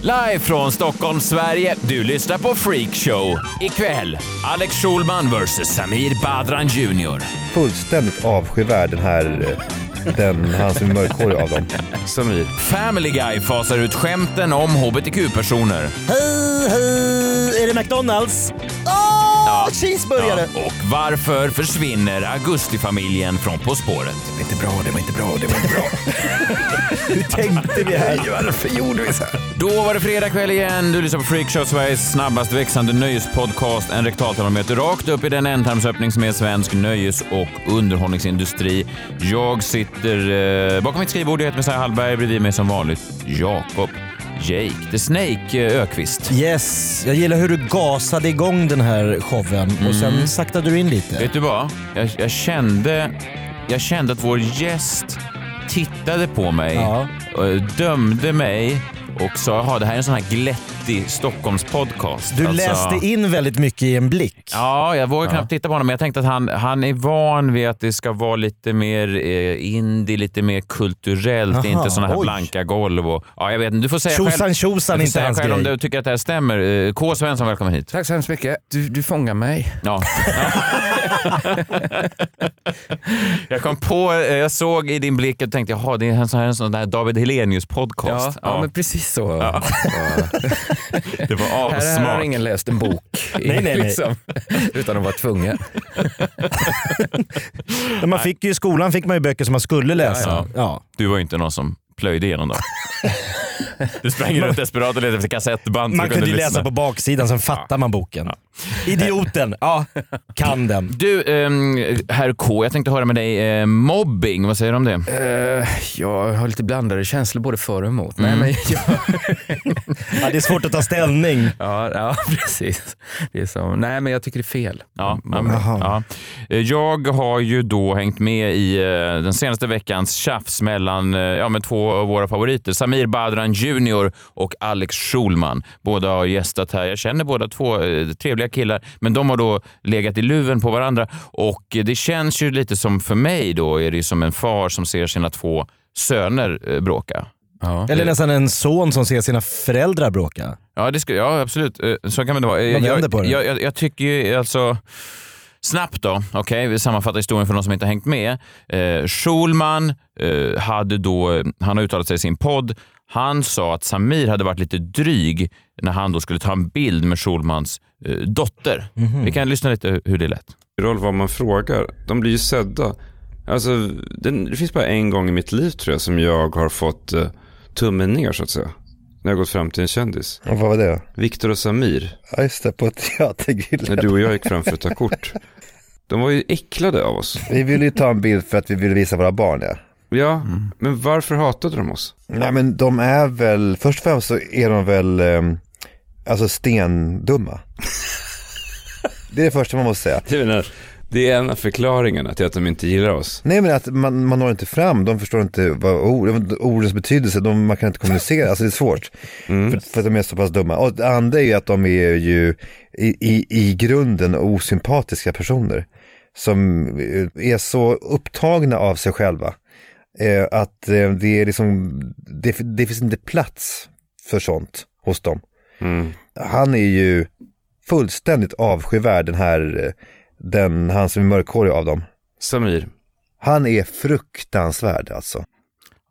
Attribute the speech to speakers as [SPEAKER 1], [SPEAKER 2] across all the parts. [SPEAKER 1] Live från Stockholm, Sverige. Du lyssnar på Freak Show. Ikväll, Alex Schulman vs Samir Badran Jr.
[SPEAKER 2] fullständigt avskyvärd den här, eh, den, han som är mörkhårig av dem.
[SPEAKER 1] Samir. Family Guy fasar ut skämten om hbtq-personer.
[SPEAKER 3] Hej, hej! Är det McDonalds?
[SPEAKER 1] Ja.
[SPEAKER 3] Cheeseburgare!
[SPEAKER 1] Och varför försvinner Augustifamiljen från På spåret? Det var inte bra, det var inte bra, det var inte bra.
[SPEAKER 2] Hur tänkte vi här?
[SPEAKER 1] varför gjorde vi så här? Då var det fredag kväll igen. Du lyssnar på Freak Show, Sveriges snabbast växande nöjespodcast. En rektaltermometer rakt upp i den ändtarmsöppning som är svensk nöjes och underhållningsindustri. Jag sitter eh, bakom mitt skrivbord. Jag heter Messiah Hallberg. Bredvid mig som vanligt Jakob Jake the Snake eh, Ökvist.
[SPEAKER 3] Yes, jag gillar hur du gasade igång den här showen och
[SPEAKER 1] Mm.
[SPEAKER 3] sen saktade du in lite.
[SPEAKER 1] Vet du vad? Jag, jag, kände, jag kände att vår gäst tittade på mig,
[SPEAKER 3] Ja.
[SPEAKER 1] och dömde mig och sa att det här är en sån här glättig Stockholmspodcast.
[SPEAKER 3] Du
[SPEAKER 1] Alltså-
[SPEAKER 3] läste in väldigt mycket i en blick.
[SPEAKER 1] Ja, jag vågar knappt titta på honom, men jag tänkte att han, han är van vid att det ska vara lite mer eh, indie, lite mer kulturellt,
[SPEAKER 3] Aha,
[SPEAKER 1] inte såna här
[SPEAKER 3] oj.
[SPEAKER 1] blanka golv. Och, ja, jag vet inte. Du får säga
[SPEAKER 3] Tjosan,
[SPEAKER 1] själv,
[SPEAKER 3] tjosan,
[SPEAKER 1] du får
[SPEAKER 3] inte
[SPEAKER 1] säga
[SPEAKER 3] hans
[SPEAKER 1] själv om
[SPEAKER 3] grej.
[SPEAKER 1] du tycker att det här stämmer. Eh, K. Svensson, välkommen hit.
[SPEAKER 4] Tack så hemskt mycket. Du, du fångar mig.
[SPEAKER 1] Ja. jag kom på, eh, jag såg i din blick och tänkte jaha, det är en sån här, en sån där David Helenius
[SPEAKER 4] Ja,
[SPEAKER 1] podcast.
[SPEAKER 4] ja. men precis så.
[SPEAKER 1] Det var
[SPEAKER 4] Här, här har
[SPEAKER 1] avsmak.
[SPEAKER 4] ingen Liksom. läst en bok
[SPEAKER 3] nej, nej.
[SPEAKER 4] utan att vara tvungen.
[SPEAKER 3] Men Man fick ju, I skolan fick man ju böcker som man skulle läsa.
[SPEAKER 1] Ja,
[SPEAKER 3] Ja,
[SPEAKER 1] Du var ju inte någon som plöjde igenom dem. Du sprang runt desperat och letade efter kassettband. så
[SPEAKER 3] Man
[SPEAKER 1] du
[SPEAKER 3] kunde ju
[SPEAKER 1] lyssna.
[SPEAKER 3] läsa på baksidan, sen fattar man boken. Idioten, ja, kan den.
[SPEAKER 1] Du, ehm, herr K, jag tänkte höra med dig. Eh, mobbing, vad säger du om det?
[SPEAKER 4] Eh, jag har lite blandade känslor både för och emot. Nej, men jag,
[SPEAKER 3] Ja, det är svårt att ta ställning.
[SPEAKER 4] ja, ja, precis. Det är som, nej, men jag tycker det är fel.
[SPEAKER 1] Ja,
[SPEAKER 4] Mm,
[SPEAKER 1] ja,
[SPEAKER 3] Jaha.
[SPEAKER 1] ja. Eh, Jag har ju då hängt med i eh, den senaste veckans tjafs mellan eh, ja, men två av våra favoriter, Samir Badran Jr och Alex Schulman. Båda har gästat här. Jag känner båda två, eh, trevliga killar, men de har då legat i luven på varandra och eh, det känns ju lite som för mig då, är det ju som en far som ser sina två söner eh, bråka.
[SPEAKER 4] Ja.
[SPEAKER 3] Eller nästan en son som ser sina föräldrar bråka.
[SPEAKER 1] Ja, det skulle, ja absolut. Eh, Så kan det vara. Eh,
[SPEAKER 3] Man vänder
[SPEAKER 1] jag,
[SPEAKER 3] på det.
[SPEAKER 1] Jag, jag, jag tycker ju alltså... Snabbt då, okej, vi sammanfattar historien för de som inte har hängt med. Eh, Schulman eh, hade då, han har uttalat sig i sin podd, han sa att Samir hade varit lite dryg när han då skulle ta en bild med Schulmans eh, dotter. Vi kan lyssna lite hur det lät.
[SPEAKER 5] roll vad man frågar. De blir ju sedda. Alltså, det, det finns bara en gång i mitt liv tror jag som jag har fått eh, tummen ner så att säga. När jag gått fram till en kändis.
[SPEAKER 2] Och vad var det?
[SPEAKER 5] Viktor och Samir,
[SPEAKER 2] Ja just det, på
[SPEAKER 5] när
[SPEAKER 2] teatergrillen.
[SPEAKER 5] du och jag gick fram för att ta kort. De var ju äcklade av oss.
[SPEAKER 2] Vi ville ju ta en bild för att vi ville visa våra barn det.
[SPEAKER 5] Ja, men varför hatade de oss?
[SPEAKER 2] Nej men de är väl, först och främst så är de väl, ehm, alltså stendumma. Det är det första man måste säga.
[SPEAKER 5] Jag menar, det är en av förklaringarna till att de inte gillar oss.
[SPEAKER 2] Nej men att man, man når inte fram, de förstår inte vad ord, ordens betydelse, de, man kan inte kommunicera, alltså det är svårt. För, för att de är så pass dumma. Och det andra är ju att de är ju i, i, i grunden osympatiska personer. Som eh, är så upptagna av sig själva. Eh, att eh, det är liksom, det, det finns inte plats för sånt hos dem. Han är ju fullständigt avskyvärd den här, eh, den, han som är mörkhårig av dem.
[SPEAKER 5] Samir,
[SPEAKER 2] Han är fruktansvärd alltså.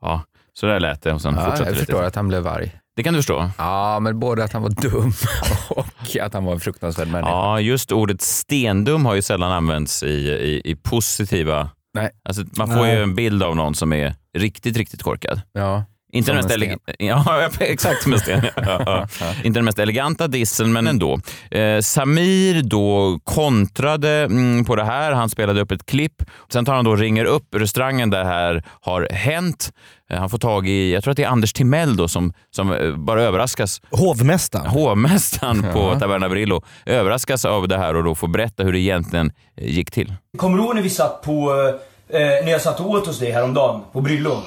[SPEAKER 1] Ja, så där lät det och sen
[SPEAKER 4] Ja,
[SPEAKER 1] fortsatte
[SPEAKER 4] jag
[SPEAKER 1] det
[SPEAKER 4] förstår
[SPEAKER 1] lite.
[SPEAKER 4] att han blev arg.
[SPEAKER 1] Det kan du förstå?
[SPEAKER 4] Ja, men både att han var dum och att han var en fruktansvärd människa.
[SPEAKER 1] Ja, just ordet stendum har ju sällan använts i, i, i positiva...
[SPEAKER 4] Nej.
[SPEAKER 1] Alltså, man får
[SPEAKER 3] Nej.
[SPEAKER 1] ju en bild av någon som är riktigt, riktigt korkad.
[SPEAKER 4] Ja.
[SPEAKER 1] Inte den,
[SPEAKER 4] Som
[SPEAKER 1] mest
[SPEAKER 4] en
[SPEAKER 1] ele- ja, exakt, som en sten. Ja, ja. Inte den mest eleganta dissen, men ändå. Eh, Samir då kontrade mm, på det här. Han spelade upp ett klipp. Sen tar han då och ringer upp restaurangen där det här har hänt. Eh, Han får tag i, jag tror att det är Anders Timell då som, som eh, bara överraskas
[SPEAKER 3] Hovmästaren.
[SPEAKER 1] hovmästaren på Taverna Brillo överraskas av det här och då får berätta hur det egentligen eh, gick till.
[SPEAKER 6] Kommer du ihåg när vi satt på... Eh, när jag satt och åt hos dig häromdagen? På Bryllon?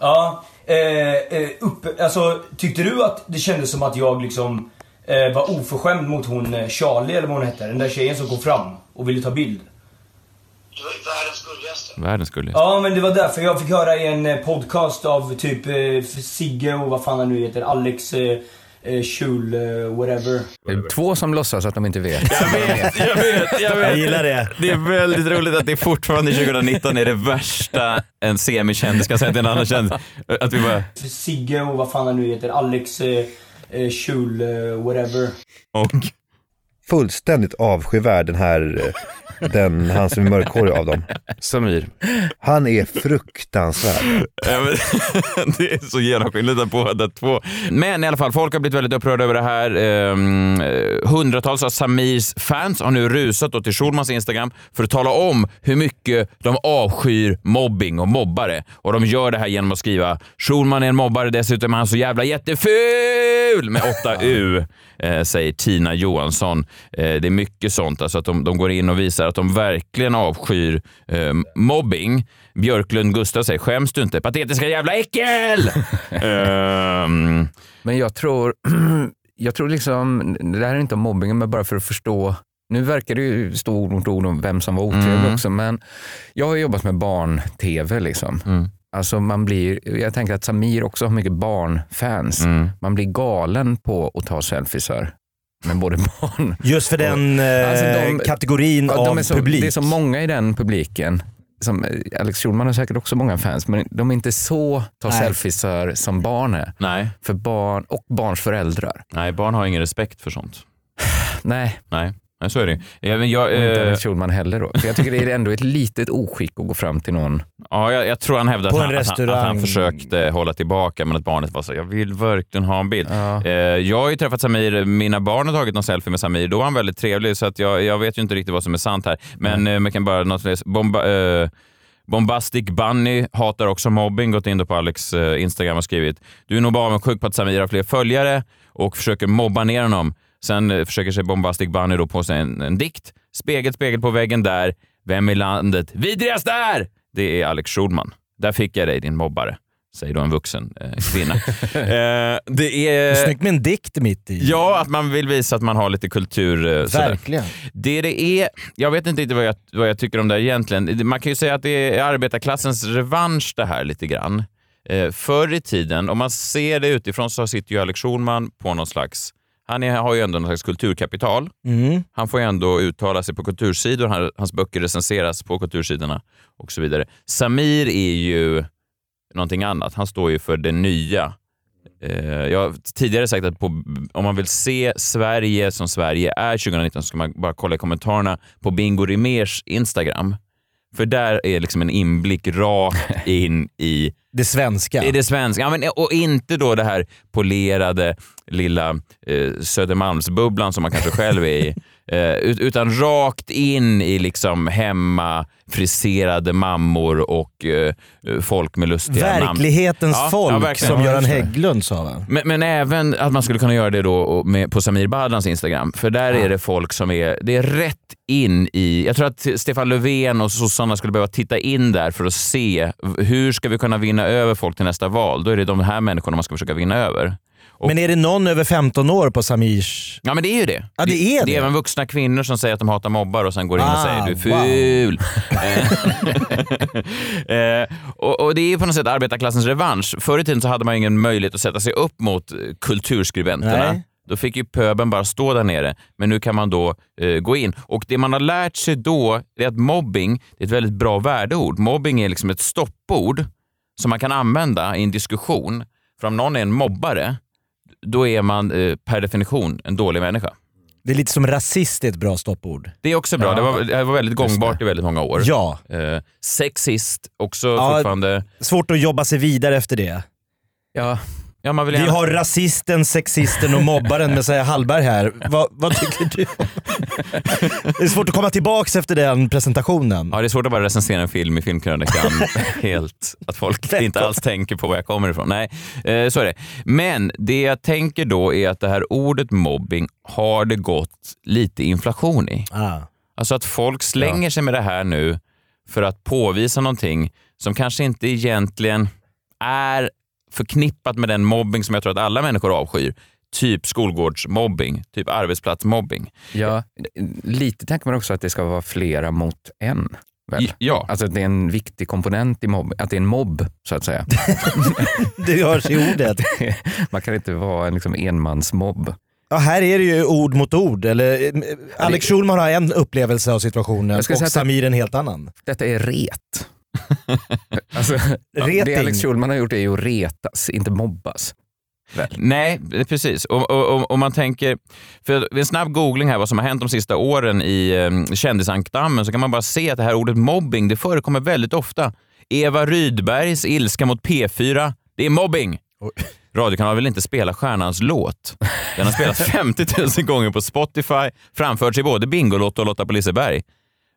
[SPEAKER 6] Ja. Eh, eh, upp, alltså, tyckte du att det kändes som att jag liksom eh, var oförskämd mot hon eh, Charlie eller vad hon hette? Den där tjejen som kom fram och ville ta bild.
[SPEAKER 1] Världens gulligaste.
[SPEAKER 6] Ja, men det var därför jag fick höra i en eh, podcast av typ eh, Sigge och vad fan han nu heter, Alex eh, eh, Schul, eh, whatever.
[SPEAKER 4] Det är Två som låtsas att de inte vet.
[SPEAKER 1] Jag vet, jag vet.
[SPEAKER 3] Jag gillar det.
[SPEAKER 1] Det är väldigt roligt att det fortfarande 2019 är det värsta en semikändis kan säga till en annan kändis. Att vi bara,
[SPEAKER 6] Sigge och vad fan han nu heter, Alex eh, eh, Schul, eh, whatever.
[SPEAKER 1] och
[SPEAKER 2] Fullständigt avskyvärd den här, eh, den, han som är mörkhårig av dem.
[SPEAKER 5] Samir.
[SPEAKER 2] Han är fruktansvärd.
[SPEAKER 1] Ja, men det är så genomskinligt att båda två. Men i alla fall, folk har blivit väldigt upprörda över det här. Ehm, eh, hundratals av Samirs fans har nu rusat då till Schulmans Instagram för att tala om hur mycket de avskyr mobbing och mobbare. Och de gör det här genom att skriva “Schulman är en mobbare, dessutom är han så jävla jätteful!” med 8U, eh, säger Tina Johansson. Eh, det är mycket sånt, alltså att de, de går in och visar att de verkligen avskyr eh, mobbing. Björklund Gustav säger “Skäms du inte? Patetiska jävla äckel!” Ehm,
[SPEAKER 4] Men jag tror, jag tror liksom, det här är inte om mobbingen, men bara för att förstå. Nu verkar det ju stå ord mot ord om vem som var otrevlig också, men jag har jobbat med barn-tv. Liksom.
[SPEAKER 1] Mm.
[SPEAKER 4] Alltså man blir, jag tänker att Samir också har mycket barnfans.
[SPEAKER 1] Mm.
[SPEAKER 4] Man blir galen på att ta selfiesar med både barn
[SPEAKER 3] Just för den eh,
[SPEAKER 4] Alltså, de-
[SPEAKER 3] kategorin
[SPEAKER 4] Ja,
[SPEAKER 3] av
[SPEAKER 4] är så,
[SPEAKER 3] publik.
[SPEAKER 4] Det är så många i den publiken. Som, eh, Alex Schulman har säkert också många fans, men de är inte så ta
[SPEAKER 3] Nej.
[SPEAKER 4] selfiesar som barn är.
[SPEAKER 1] nej,
[SPEAKER 4] För barn och barns föräldrar.
[SPEAKER 1] nej, barn har ingen respekt för sånt.
[SPEAKER 4] Nej,
[SPEAKER 1] Nej, nej så är det. Även jag,
[SPEAKER 4] och inte
[SPEAKER 1] eh,
[SPEAKER 4] Alex Schulman heller då. För jag tycker det är ändå ett litet oskick att gå fram till någon.
[SPEAKER 1] ja, jag, jag tror han hävdade
[SPEAKER 3] På
[SPEAKER 1] att
[SPEAKER 3] en
[SPEAKER 1] han, att, han, att han
[SPEAKER 3] restaurang.
[SPEAKER 1] försökte hålla tillbaka, men att barnet var så “jag vill verkligen ha en bild”.
[SPEAKER 4] Ja.
[SPEAKER 1] Eh, jag har ju träffat Samir, mina barn har tagit någon selfie med Samir. Då var han väldigt trevlig, så att jag, jag vet ju inte riktigt vad som är sant här. Men eh, man kan bara något slags bomba, eh, Bombastic Bunny hatar också mobbing, gått in då på Alex eh, Instagram och skrivit “Du är nog bara avundsjuk på att Samir har fler följare och försöker mobba ner honom. Sen eh, försöker sig Bombastic Bunny då på sig en, en dikt. Spegel, spegel på väggen där. Vem i landet vidrigast är? Det är Alex Schulman. Där fick jag dig din mobbare, säger då en vuxen eh, kvinna. eh, det är...
[SPEAKER 3] Snyggt med en dikt mitt i.
[SPEAKER 1] Ja, att man vill visa att man har lite kultur. eh, Sådär.
[SPEAKER 3] Verkligen.
[SPEAKER 1] Det det är, jag vet inte riktigt vad jag, vad jag tycker om det här egentligen. Man kan ju säga att det är arbetarklassens revansch det här lite grann. Eh, förr i tiden, om man ser det utifrån så sitter ju Alex Schulman på någon slags... Han är, har ju ändå någon slags kulturkapital.
[SPEAKER 3] Mm.
[SPEAKER 1] Han får ju ändå uttala sig på kultursidor. Han, hans böcker recenseras på kultursidorna och så vidare. Samir är ju någonting annat. Han står ju för det nya. Eh, jag har tidigare sagt att på, om man vill se Sverige som Sverige är 2019 så ska man bara kolla i kommentarerna på Bingo Rimérs Instagram. För där är liksom en inblick rakt in i
[SPEAKER 3] Det svenska.
[SPEAKER 1] i det svenska. Ja, men, och inte då det här polerade lilla eh, Södermalmsbubblan som man kanske själv är i. Eh, ut- utan rakt in i liksom hemma friserade mammor och eh, folk med lustiga namn.
[SPEAKER 3] Verklighetens
[SPEAKER 1] Ja, ja,
[SPEAKER 3] folk,
[SPEAKER 1] verkligen.
[SPEAKER 3] som
[SPEAKER 1] Ja,
[SPEAKER 3] Göran
[SPEAKER 1] just det.
[SPEAKER 3] Hägglund sa va?
[SPEAKER 1] Men, men även att man skulle kunna göra det då och med, på Samir Badrans Instagram. För där är det folk som är, det är rätt in i... Jag tror att Stefan Löfven och sossarna skulle behöva titta in där för att se v- hur ska vi kunna vinna över folk till nästa val. Då är det de här människorna man ska försöka vinna över. Och-
[SPEAKER 3] Men är det någon över 15 år på Samirs...
[SPEAKER 1] Ja men det är ju det.
[SPEAKER 3] Ja, det är
[SPEAKER 1] Det
[SPEAKER 3] det.
[SPEAKER 1] är även vuxna kvinnor som säger att de hatar mobbar och sen går in och
[SPEAKER 3] Ah,
[SPEAKER 1] säger du är ful. Eh, och, och det är ju på något sätt arbetarklassens revansch. Förr i tiden så hade man ju ingen möjlighet att sätta sig upp mot eh, kulturskribenterna.
[SPEAKER 3] Nej.
[SPEAKER 1] Då fick ju pöben bara stå där nere, men nu kan man då eh, gå in. Och Det man har lärt sig då är att mobbing det är ett väldigt bra värdeord. Mobbing är liksom ett stoppord som man kan använda i en diskussion. För om någon är en mobbare, då är man eh, per definition en dålig människa.
[SPEAKER 3] Det är lite som rasist är ett bra stoppord.
[SPEAKER 1] Det är också bra.
[SPEAKER 4] Ja.
[SPEAKER 1] Det, var, det här var väldigt gångbart i väldigt många år.
[SPEAKER 3] Ja,
[SPEAKER 1] Eh, sexist, också
[SPEAKER 3] Ja.
[SPEAKER 1] fortfarande.
[SPEAKER 3] svårt att jobba sig vidare efter det.
[SPEAKER 4] Ja,
[SPEAKER 1] Ja, man vill
[SPEAKER 3] Vi
[SPEAKER 1] gärna...
[SPEAKER 3] har rasisten, sexisten och mobbaren Messiah Hallberg här. Va, vad tycker du? om- Det är svårt att komma tillbaks efter den presentationen.
[SPEAKER 1] ja, det är svårt att bara recensera en film i filmkrönikan helt. Att folk inte alls tänker på var jag kommer ifrån. Nej, eh, så är det. Men det jag tänker då är att det här ordet mobbing har det gått lite inflation i.
[SPEAKER 3] Ah.
[SPEAKER 1] Alltså att folk slänger sig med det här nu för att påvisa någonting som kanske inte egentligen är förknippat med den mobbing som jag tror att alla människor avskyr. Typ skolgårdsmobbing, typ arbetsplatsmobbing.
[SPEAKER 4] ja, Eh, lite tänker man också att det ska vara flera mot en. Väl?
[SPEAKER 1] I- Ja,
[SPEAKER 4] Alltså att det är en viktig komponent i mobb, att det är en mobb så att säga.
[SPEAKER 3] Det hörs i ordet.
[SPEAKER 4] Man kan inte vara en liksom, enmansmobb.
[SPEAKER 3] Ja, här är det ju ord mot ord. Eller, eh, Alex Schulman har en upplevelse av situationen
[SPEAKER 4] Jag
[SPEAKER 3] och
[SPEAKER 4] ska säga att-
[SPEAKER 3] Samir en helt annan.
[SPEAKER 4] Detta är ret. alltså, det
[SPEAKER 3] Reting.
[SPEAKER 4] Alex Schulman har gjort är ju att retas, inte mobbas.
[SPEAKER 1] Nej, precis. Och, och, och, och man tänker, för vid en snabb googling här vad som har hänt de sista åren i eh, kändisankdammen så kan man bara se att det här ordet mobbing det förekommer väldigt ofta. Eva Rydbergs ilska mot P4, det är mobbing! Radiokanalen vill inte spela stjärnans låt. Den har spelats 50 000 gånger på Spotify, framförts i både Bingolotto och Lotta på Liseberg.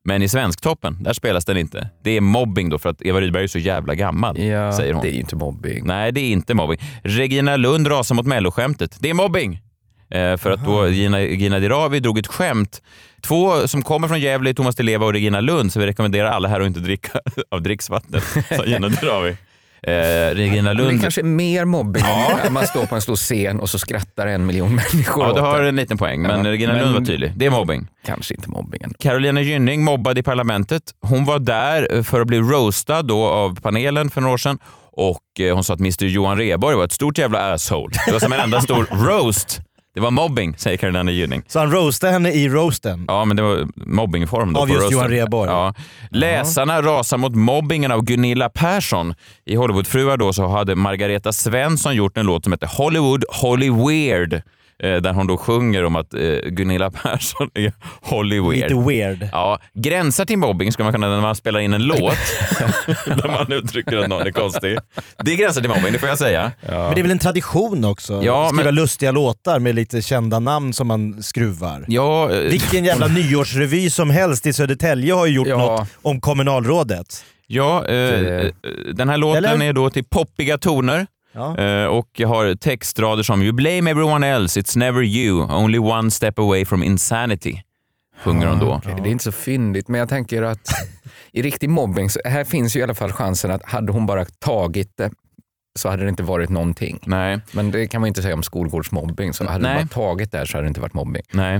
[SPEAKER 1] Men i Svensktoppen, där spelas den inte. Det är mobbing då för att Eva Rydberg är så jävla gammal, säger hon.
[SPEAKER 4] Det är ju inte mobbing.
[SPEAKER 1] Nej, det är inte mobbing. Regina Lund rasar mot melloskämtet. Det är mobbing! Eh, för att då Gina, Gina Dirawi drog ett skämt. Två som kommer från Gävle, Thomas Di Leva och Regina Lund, så vi rekommenderar alla här att inte dricka av dricksvattnet, sa Gina Dirawi. Eh, Regina
[SPEAKER 4] Men Det
[SPEAKER 1] Lund...
[SPEAKER 4] kanske är mer mobbing än när man står på en stor scen och så skrattar en miljon människor
[SPEAKER 1] Ja,
[SPEAKER 4] åt
[SPEAKER 1] du har
[SPEAKER 4] en.
[SPEAKER 1] en liten poäng, men
[SPEAKER 4] Ja,
[SPEAKER 1] Regina
[SPEAKER 4] men-
[SPEAKER 1] Lund var tydlig. Det är mobbing.
[SPEAKER 4] Kanske inte mobbing ändå.
[SPEAKER 1] Carolina Gynning mobbad i parlamentet. Hon var där eh, för att bli roastad då av panelen för några år sedan och eh, hon sa att Mr Johan Rheborg var ett stort jävla asshole. Det var som en enda stor roast. Det var mobbing, säger Carolina Gynning.
[SPEAKER 3] Så han roastade henne i roasten.
[SPEAKER 1] Ja, men det var mobbingform då.
[SPEAKER 3] Av
[SPEAKER 1] på
[SPEAKER 3] just
[SPEAKER 1] rösten.
[SPEAKER 3] Johan Rheborg.
[SPEAKER 1] Ja. Läsarna rasar mot mobbingen av Gunilla Persson. I Hollywoodfruar då så hade Margareta Svensson gjort en låt som hette Hollywood Holly Weird. eh, Där hon då sjunger om att eh, Gunilla Persson är Holly Weird.
[SPEAKER 3] Lite weird.
[SPEAKER 1] Ja, gränsar till mobbing skulle man kunna när man spelar in en låt där man uttrycker att någon är konstig. Det gränsar till mobbing, det får jag säga.
[SPEAKER 3] Men det är väl en tradition också?
[SPEAKER 1] Ja,
[SPEAKER 3] Skriva
[SPEAKER 1] men-
[SPEAKER 3] lustiga låtar med lite kända namn som man skruvar.
[SPEAKER 1] Ja, eh,
[SPEAKER 3] Vilken jävla nyårsrevy som helst i Södertälje har ju gjort
[SPEAKER 4] Ja.
[SPEAKER 3] något om kommunalrådet.
[SPEAKER 1] ja eh, eh, den här låten
[SPEAKER 3] Eller?
[SPEAKER 1] är då till poppiga toner.
[SPEAKER 3] Ja.
[SPEAKER 1] Eh, och jag har textrader som “You blame everyone else, it's never you, only one step away from insanity”. Sjunger hon då.
[SPEAKER 4] Det är inte så fyndigt, men jag tänker att i riktig mobbing, så här finns ju i alla fall chansen att hade hon bara tagit det så hade det inte varit någonting.
[SPEAKER 1] Nej,
[SPEAKER 4] Men det kan man ju inte säga om skolgårdsmobbing. Så hade
[SPEAKER 1] Nej.
[SPEAKER 4] hon bara tagit det här så hade det inte varit mobbing.
[SPEAKER 1] nej.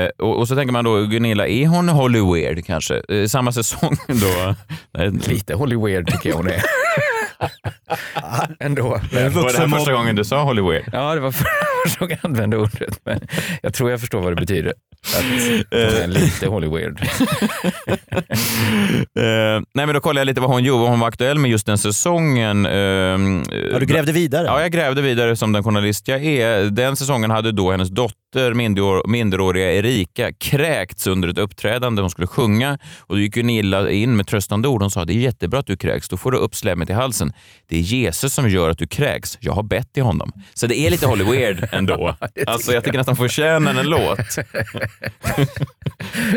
[SPEAKER 1] Eh, och, och så tänker man då, Gunilla, är hon Holly Weird kanske? Eh, samma säsong då. Nej,
[SPEAKER 4] Lite Holly Weird tycker jag hon är. Ändå.
[SPEAKER 1] var det här första
[SPEAKER 3] Vuxenmobb-
[SPEAKER 1] gången du sa Holly Weird?
[SPEAKER 4] Ja, det var första gången jag använde ordet, men jag tror jag förstår vad det betyder. Att hon är lite Holly Weird.
[SPEAKER 1] Eh, nej, men då kollade jag lite vad hon gjorde, vad hon var aktuell med just den säsongen. Eh,
[SPEAKER 3] Ja, du grävde vidare?
[SPEAKER 1] Ja, jag grävde vidare som den journalist jag är. Den säsongen hade då hennes dotter, minderår- minderåriga Erika, kräkts under ett uppträdande. Hon skulle sjunga och då gick Gunilla in med tröstande ord. Hon sa det är jättebra att du kräks, då får du upp slemmet i halsen. Det är Jesus som gör att du kräks. Jag har bett till honom. Så det är lite Holly Weird ändå. Alltså, jag tycker nästan förtjänar en låt.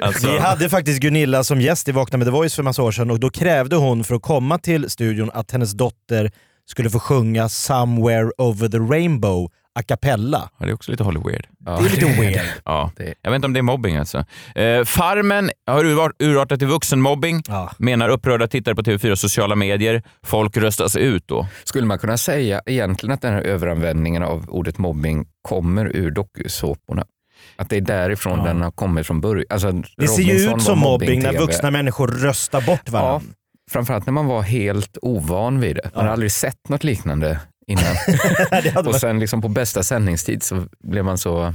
[SPEAKER 1] Alltså-
[SPEAKER 3] Vi hade faktiskt Gunilla som gäst i Vakna med The Voice för massa år sedan och då krävde hon för att komma till studion att hennes dotter skulle få sjunga “Somewhere over the rainbow” a cappella.
[SPEAKER 1] Ja, det är också lite Holly Weird.
[SPEAKER 3] Det är lite weird.
[SPEAKER 1] Ja. Jag vet inte om det är mobbing alltså. Eh, farmen har urvar- urartat till vuxenmobbing,
[SPEAKER 3] Ja.
[SPEAKER 1] menar upprörda tittare på TV4 sociala medier. Folk röstas ut då.
[SPEAKER 4] Skulle man kunna säga egentligen att den här överanvändningen av ordet mobbing kommer ur dokusåporna? Att det är därifrån den har kommit från början. Alltså,
[SPEAKER 3] Det ser ju ut som mobbing när vuxna
[SPEAKER 4] människor
[SPEAKER 3] människor röstar bort
[SPEAKER 4] Ja,
[SPEAKER 3] varandra.
[SPEAKER 4] framförallt när man var helt ovan vid det. Man har aldrig sett något liknande innan.
[SPEAKER 3] det hade
[SPEAKER 4] Och
[SPEAKER 3] varit...
[SPEAKER 4] sen liksom på bästa sändningstid så blev man så...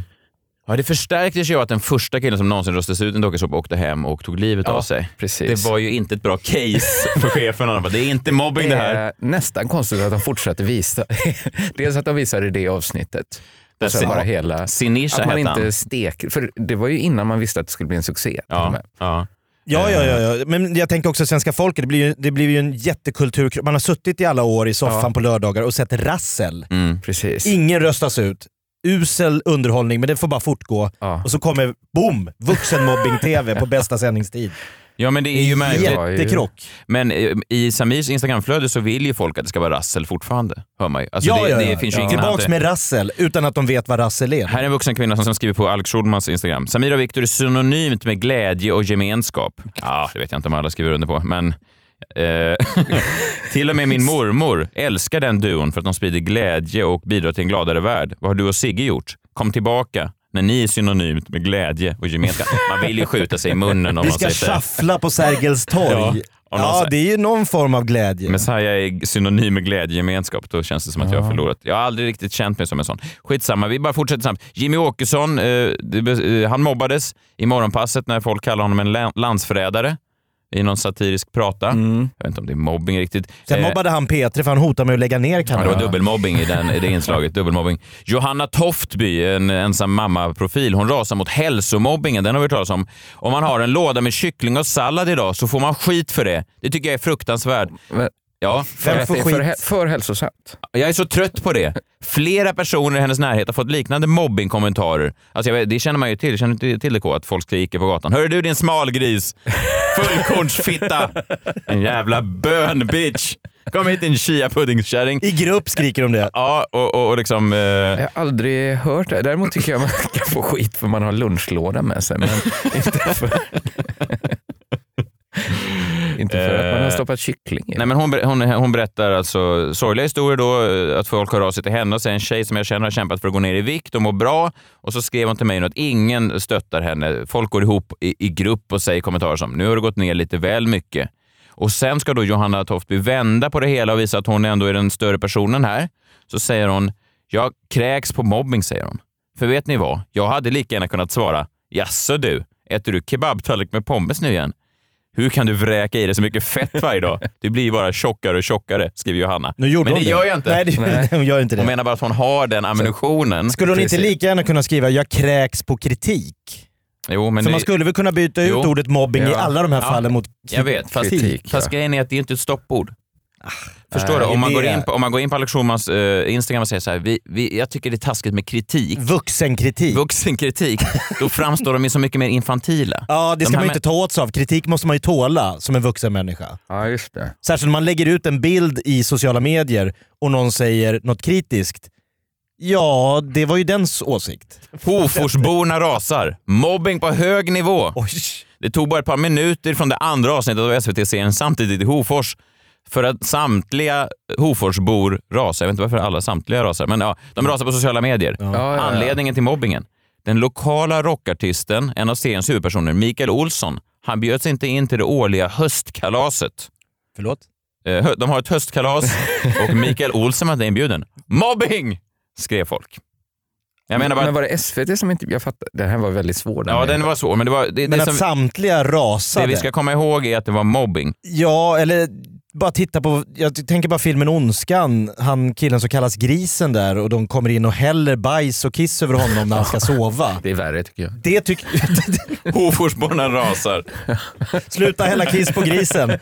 [SPEAKER 1] Ja, det förstärktes ju av att den första killen som någonsin röstades ut i en dokusåpa åkte hem och tog livet av sig.
[SPEAKER 4] precis.
[SPEAKER 1] Det var ju inte ett bra case för chefen. Han bara, det är inte mobbing det här.
[SPEAKER 4] är Eh, nästan konstigt att de fortsätter visa. Dels att de visade det avsnittet.
[SPEAKER 1] Där
[SPEAKER 4] Och sen
[SPEAKER 1] ser-
[SPEAKER 4] bara hela...
[SPEAKER 1] Sinisha
[SPEAKER 4] Att man
[SPEAKER 1] hette han.
[SPEAKER 4] inte stek... För det var ju innan man visste att det skulle bli en succé. till och
[SPEAKER 1] Ja,
[SPEAKER 4] med.
[SPEAKER 1] ja.
[SPEAKER 3] Ja, ja, ja, ja. Men jag tänker också svenska folket. Det blir ju, det blir ju en jättekultur. Man har suttit i alla år i soffan på lördagar och sett rassel.
[SPEAKER 1] Mm.
[SPEAKER 4] Precis.
[SPEAKER 3] Ingen röstas ut. Usel underhållning, men det får bara fortgå.
[SPEAKER 4] Ja.
[SPEAKER 3] Och så kommer, boom, vuxenmobbing-tv på bästa sändningstid.
[SPEAKER 1] Ja, men det är ju märkligt.
[SPEAKER 4] Ja, ju.
[SPEAKER 3] Jättekrock.
[SPEAKER 1] Men eh, i Samirs Instagramflöde så vill ju folk att det ska vara rassel fortfarande. Hör man ju. Alltså,
[SPEAKER 3] ja,
[SPEAKER 1] det,
[SPEAKER 3] ja, ja.
[SPEAKER 1] det finns ju
[SPEAKER 3] ja.
[SPEAKER 1] ingen
[SPEAKER 3] Tillbaks
[SPEAKER 1] annan-
[SPEAKER 3] med rassel, utan att de vet vad rassel är.
[SPEAKER 1] Här är en vuxen kvinna som som skriver på Alex Schulmans Instagram. Samir och Viktor är synonymt med glädje och gemenskap. Ja, det vet jag inte om alla skriver under på, men eh, till och med min mormor älskar den duon för att de sprider glädje och bidrar till en gladare värld. Vad har du och Sigge gjort? Kom tillbaka när ni är synonymt med glädje och gemenskap. Man vill ju skjuta sig i munnen om
[SPEAKER 3] Vi
[SPEAKER 1] man
[SPEAKER 3] ska
[SPEAKER 1] säger så här.
[SPEAKER 3] schaffla på Sergels torg.
[SPEAKER 1] Ja, och någon
[SPEAKER 3] Ja,
[SPEAKER 1] säger-
[SPEAKER 3] det är ju någon form av glädje.
[SPEAKER 1] Messiah är synonym med glädje och gemenskap. Då känns det som att jag har förlorat. Jag har aldrig riktigt känt mig som en sån. Skitsamma, vi bara fortsätter snabbt. Jimmy Åkesson, eh, det be- eh, han mobbades i morgonpasset när folk kallade honom en lan- landsförrädare i någon satirisk prata.
[SPEAKER 3] Mm.
[SPEAKER 1] Jag vet inte om det är mobbing riktigt.
[SPEAKER 3] Sen
[SPEAKER 1] Eh,
[SPEAKER 3] mobbade han Petri för han hotade med att lägga ner
[SPEAKER 1] Ja, det var
[SPEAKER 3] kanalen.
[SPEAKER 1] dubbelmobbing i, den, i det inslaget. Dubbelmobbing. Johanna Toftby, en ensam mamma-profil, hon rasar mot hälsomobbingen. Den har vi hört talas om. Om man har en låda med kyckling och sallad idag så får man skit för det. Det tycker jag är fruktansvärt.
[SPEAKER 4] Men-
[SPEAKER 1] Ja.
[SPEAKER 4] För
[SPEAKER 3] Vem
[SPEAKER 4] att
[SPEAKER 3] får
[SPEAKER 4] det är för,
[SPEAKER 3] skit?
[SPEAKER 4] hä- för hälsosamt.
[SPEAKER 1] Jag är så trött på det. Flera personer i hennes närhet har fått liknande mobbingkommentarer. Alltså jag vet, det känner man ju till. Känner du inte till det K? Att folk skriker på gatan. Hör du din smalgris! Fullkornsfitta! En jävla bön-bitch! Kom hit din chia-puddingskärring.
[SPEAKER 3] I grupp skriker de det.
[SPEAKER 1] Ja, och, och, och liksom... Eh,
[SPEAKER 4] Jag har aldrig hört det. Däremot tycker jag man kan få skit för man har lunchlåda med sig. Men inte för, inte för att man har stoppat kyckling i.
[SPEAKER 1] Eh, Nej, men hon, ber- hon, hon berättar alltså sorgliga historier då, eh, att folk hör av sig till henne och säger en tjej som jag känner har kämpat för att gå ner i vikt och mår bra. Och så skrev hon till mig att ingen stöttar henne. Folk går ihop i, i grupp och säger kommentarer som “nu har du gått ner lite väl mycket”. Och sen ska då Johanna Toftby vända på det hela och visa att hon ändå är den större personen här. Så säger hon “jag kräks på mobbing” säger hon. För vet ni vad? Jag hade lika gärna kunnat svara “jaså du, äter du kebabtallrik med pommes nu igen?” Hur kan du vräka i dig så mycket fett varje dag? Du blir ju bara tjockare och tjockare, skriver Johanna.
[SPEAKER 3] Nu gjorde
[SPEAKER 1] Men
[SPEAKER 3] hon
[SPEAKER 1] det gör jag inte.
[SPEAKER 3] Nej, det,
[SPEAKER 4] Nej.
[SPEAKER 3] hon gör inte det.
[SPEAKER 1] Hon menar bara att hon har den ammunitionen.
[SPEAKER 3] Skulle hon inte
[SPEAKER 1] Precis.
[SPEAKER 3] lika gärna kunna skriva “jag kräks på kritik”?
[SPEAKER 1] Jo, men
[SPEAKER 3] För
[SPEAKER 1] det,
[SPEAKER 3] man skulle väl kunna byta ut
[SPEAKER 1] Jo.
[SPEAKER 3] ordet mobbing i
[SPEAKER 4] Ja.
[SPEAKER 3] alla de här
[SPEAKER 1] Ja.
[SPEAKER 3] fallen mot
[SPEAKER 1] jag vet, fast,
[SPEAKER 4] Kritik,
[SPEAKER 1] fast
[SPEAKER 4] ja.
[SPEAKER 1] grejen är att det är inte ett stoppord. Förstår du?
[SPEAKER 3] Ah, det är
[SPEAKER 1] Om man, går
[SPEAKER 3] det.
[SPEAKER 1] in på, om man går in på Alex Schulmans eh, Instagram och säger så här, vi, vi, jag tycker det är taskigt med kritik,
[SPEAKER 3] vuxenkritik.
[SPEAKER 1] vuxenkritik, då framstår de ju så mycket mer infantila.
[SPEAKER 3] ja, det
[SPEAKER 1] De
[SPEAKER 3] ska
[SPEAKER 1] här
[SPEAKER 3] man ju
[SPEAKER 1] med-
[SPEAKER 3] inte ta åt sig av. Kritik måste man ju tåla som en vuxen människa.
[SPEAKER 4] Ja, just det.
[SPEAKER 3] Särskilt när man lägger ut en bild i sociala medier och någon säger något kritiskt. Ja, det var ju dens åsikt.
[SPEAKER 1] Hoforsborna rasar. Mobbing på hög nivå.
[SPEAKER 3] Oj.
[SPEAKER 1] Det tog bara ett par minuter från det andra avsnittet av SVT-serien Samtidigt i Hofors för att samtliga Hoforsbor rasar. Jag vet inte varför alla samtliga rasar, men ja, de rasar på sociala medier.
[SPEAKER 4] Ja, ja, ja.
[SPEAKER 1] Anledningen till mobbingen? Den lokala rockartisten, en av seriens huvudpersoner, Mikael Olsson, han bjöds inte in till det årliga höstkalaset.
[SPEAKER 3] Förlåt?
[SPEAKER 1] Eh, hö- De har ett höstkalas och Mikael Olsson var inte inbjuden. Mobbing! skrev folk. Jag menar bara
[SPEAKER 4] Men var det SVT som inte... Jag fattar. Den här var väldigt svår.
[SPEAKER 1] Ja, den var svår, men det var... Det,
[SPEAKER 3] Men
[SPEAKER 1] det,
[SPEAKER 3] att
[SPEAKER 1] som,
[SPEAKER 3] samtliga rasade.
[SPEAKER 1] det vi ska komma ihåg är att det var mobbing.
[SPEAKER 3] Ja, eller bara titta på, jag tänker bara filmen Ondskan, han killen som kallas Grisen där och de kommer in och häller bajs och kiss över honom när han ska sova.
[SPEAKER 4] Det är värre tycker jag.
[SPEAKER 3] Det tycker...
[SPEAKER 1] Hoforsborna rasar.
[SPEAKER 3] Sluta hälla kiss på grisen.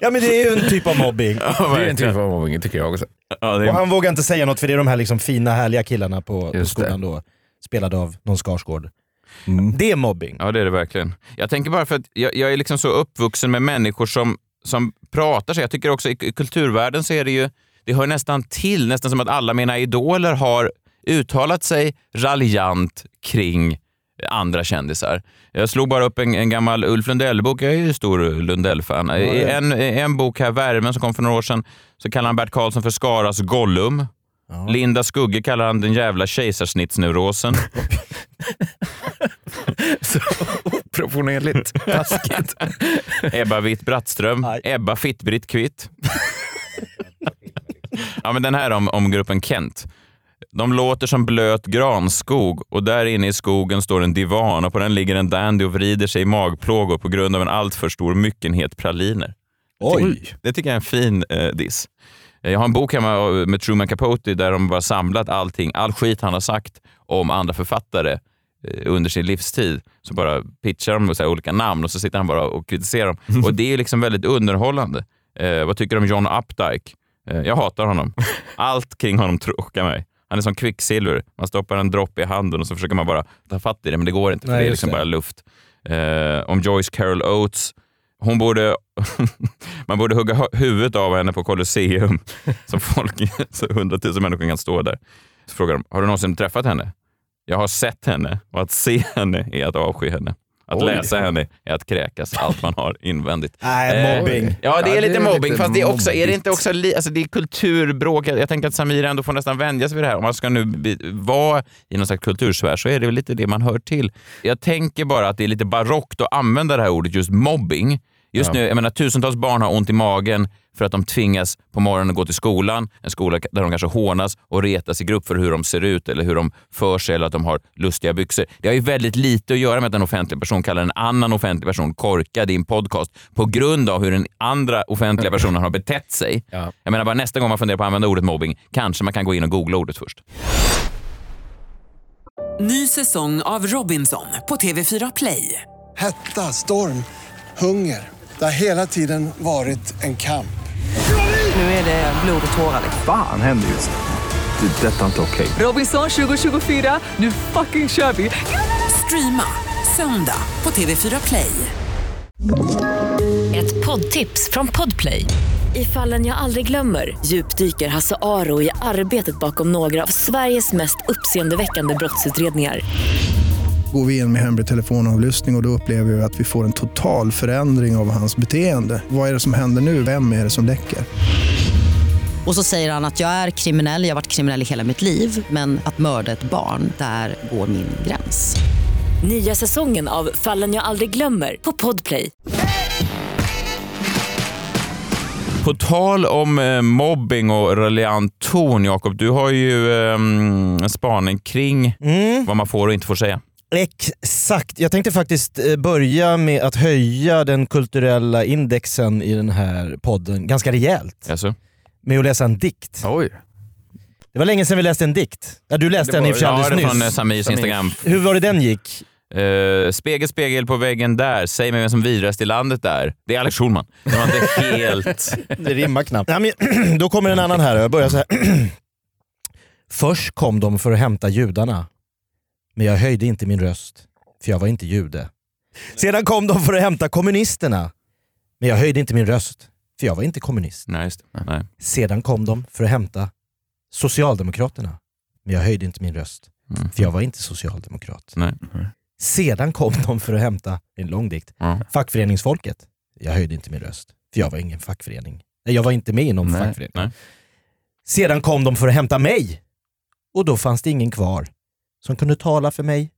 [SPEAKER 3] ja men det är ju en typ av mobbing.
[SPEAKER 4] Det är en typ av mobbing tycker jag också.
[SPEAKER 1] Ja, det
[SPEAKER 3] Och
[SPEAKER 1] är,
[SPEAKER 3] han vågar inte säga något för det är de här liksom fina härliga killarna på, på
[SPEAKER 4] Just
[SPEAKER 3] skolan då. Spelade av någon Skarsgård. Det är mobbing.
[SPEAKER 1] ja, det är det verkligen. Jag tänker bara för att jag, jag är liksom så uppvuxen med människor som, som pratar så. Jag tycker också i, i kulturvärlden så är det ju, det hör nästan till, nästan som att alla mina idoler har uttalat sig raljant kring andra kändisar. Jag slog bara upp en, en gammal Ulf Lundell-bok. Jag är ju stor Lundell-fan. I en, i en bok här, Värmen, som kom för några år sedan, så kallar han Bert Karlsson för Skaras Gollum. Linda Skugge kallar han den jävla kejsarsnittsneurosen.
[SPEAKER 4] Proportionerligt taskigt.
[SPEAKER 1] Ebba Witt Brattström.
[SPEAKER 3] Aj.
[SPEAKER 1] Ebba Fittbritt Kvitt. ja, men den här om, om gruppen Kent. De låter som blöt granskog och där inne i skogen står en divan och på den ligger en dandy och vrider sig i magplågor på grund av en alltför stor myckenhet praliner.
[SPEAKER 3] Oj!
[SPEAKER 1] Det tycker jag är en fin eh, diss. Eh, Jag har en bok hemma eh, med Truman Capote där de bara samlat allting, all skit han har sagt om andra författare eh, under sin livstid. Så bara pitchar de med så här olika namn och så sitter han bara och kritiserar dem. Och det är liksom väldigt underhållande. Eh, vad tycker du om John Updike? Eh, jag hatar honom. Allt kring honom tråkar mig. Han är som kvicksilver. Man stoppar en droppe i handen och så försöker man bara ta fatt i det, men det går inte för
[SPEAKER 3] Nej,
[SPEAKER 1] det är
[SPEAKER 3] just
[SPEAKER 1] liksom
[SPEAKER 3] det.
[SPEAKER 1] bara luft. Eh, om Joyce Carol Oates. Hon borde, man borde hugga hu- huvudet av henne på Colosseum så folk, så hundratusen människor kan stå där. Så frågar de, har du någonsin träffat henne? Jag har sett henne och att se henne är att avsky henne. Att
[SPEAKER 4] Oj.
[SPEAKER 1] läsa henne är att kräkas allt man har invändigt.
[SPEAKER 3] Nej,
[SPEAKER 1] Eh,
[SPEAKER 3] mobbing.
[SPEAKER 1] Ja, det är
[SPEAKER 4] Ja,
[SPEAKER 1] lite
[SPEAKER 4] det är
[SPEAKER 1] mobbing.
[SPEAKER 4] lite
[SPEAKER 1] fast det är, också, är det
[SPEAKER 4] mobbigt.
[SPEAKER 1] inte också li, alltså det är kulturbråk? Jag jag tänker att Samir ändå får nästan vänja sig vid det här. Om man ska nu bli, vara i någon slags kultursfär så är det väl lite det man hör till. Jag tänker bara att det är lite barockt att använda det här ordet just mobbing. Just nu, jag menar, tusentals barn har ont i magen för att de tvingas på morgonen att gå till skolan, en skola där de kanske hånas och retas i grupp för hur de ser ut eller hur de för sig eller att de har lustiga byxor. Det har ju väldigt lite att göra med att en offentlig person kallar en annan offentlig person korkad i en podcast på grund av hur den andra offentliga personen har betett sig.
[SPEAKER 4] Ja.
[SPEAKER 1] Jag menar bara nästa gång man funderar på att använda ordet mobbing kanske man kan gå in och googla ordet först.
[SPEAKER 7] Ny säsong av Robinson på TV4 Play.
[SPEAKER 8] Hetta, storm, hunger. Det har hela tiden varit en kamp.
[SPEAKER 7] Nu är det blod och tårar. liksom.
[SPEAKER 9] Fan händer just det. Det är detta inte okej.
[SPEAKER 7] Robinson 2024, nu fucking kör vi! Streama söndag på TV4 Play.
[SPEAKER 10] Ett poddtips från Podplay. I fallen jag aldrig glömmer djupdyker Hasse Aro i arbetet bakom några av Sveriges mest uppseendeväckande brottsutredningar.
[SPEAKER 11] Går vi in med hemlig telefonavlyssning och, och då upplever vi att vi får en total förändring av hans beteende. Vad är det som händer nu? Vem är det som läcker?
[SPEAKER 12] Och så säger han att jag är kriminell, jag har varit kriminell i hela mitt liv men att mörda ett barn, där går min gräns.
[SPEAKER 10] Nya säsongen av Fallen jag aldrig glömmer på Podplay.
[SPEAKER 1] På tal om eh, mobbing och raljant ton, Jakob. Du har ju eh, en spaning kring
[SPEAKER 3] Mm.
[SPEAKER 1] vad man får och inte får säga.
[SPEAKER 3] Exakt. Jag tänkte faktiskt eh, börja med att höja den kulturella indexen i den här podden ganska rejält
[SPEAKER 1] Jaså?
[SPEAKER 3] med att läsa en dikt.
[SPEAKER 4] Oj.
[SPEAKER 3] Det var länge sedan vi läste en dikt. Ja, du läste
[SPEAKER 4] Det
[SPEAKER 3] den i och
[SPEAKER 4] var-
[SPEAKER 3] för sig
[SPEAKER 4] ja,
[SPEAKER 1] Ja, det är
[SPEAKER 3] alldeles
[SPEAKER 1] från eh,
[SPEAKER 3] nyss.
[SPEAKER 1] Samirs
[SPEAKER 4] Samir.
[SPEAKER 1] Instagram.
[SPEAKER 3] Hur var det den gick?
[SPEAKER 1] Eh, spegel, spegel på väggen där. Säg mig vem som vidrast i landet där. Det är Alex Schulman. Det var inte helt...
[SPEAKER 3] Det rimmar knappt. Nej, men, då kommer en annan här. Jag börjar så här. Först kom de för att hämta judarna. Men jag höjde inte min röst, för jag var inte jude. Sedan kom de för att hämta kommunisterna. Men jag höjde inte min röst, för jag var inte kommunist.
[SPEAKER 1] Nej, just det. Nej.
[SPEAKER 3] Sedan kom de för att hämta Socialdemokraterna. Men jag höjde inte min röst,
[SPEAKER 1] Mm.
[SPEAKER 3] för jag var inte socialdemokrat.
[SPEAKER 1] Nej.
[SPEAKER 3] Sedan kom de för att hämta, det är en lång dikt,
[SPEAKER 1] Ja.
[SPEAKER 3] fackföreningsfolket. Jag höjde inte min röst, för jag var ingen fackförening. Nej, Jag var inte med i någon
[SPEAKER 4] Nej,
[SPEAKER 3] fackförening.
[SPEAKER 1] nej.
[SPEAKER 3] Sedan kom de för att hämta mig. Och då fanns det ingen kvar som kunde tala för mig.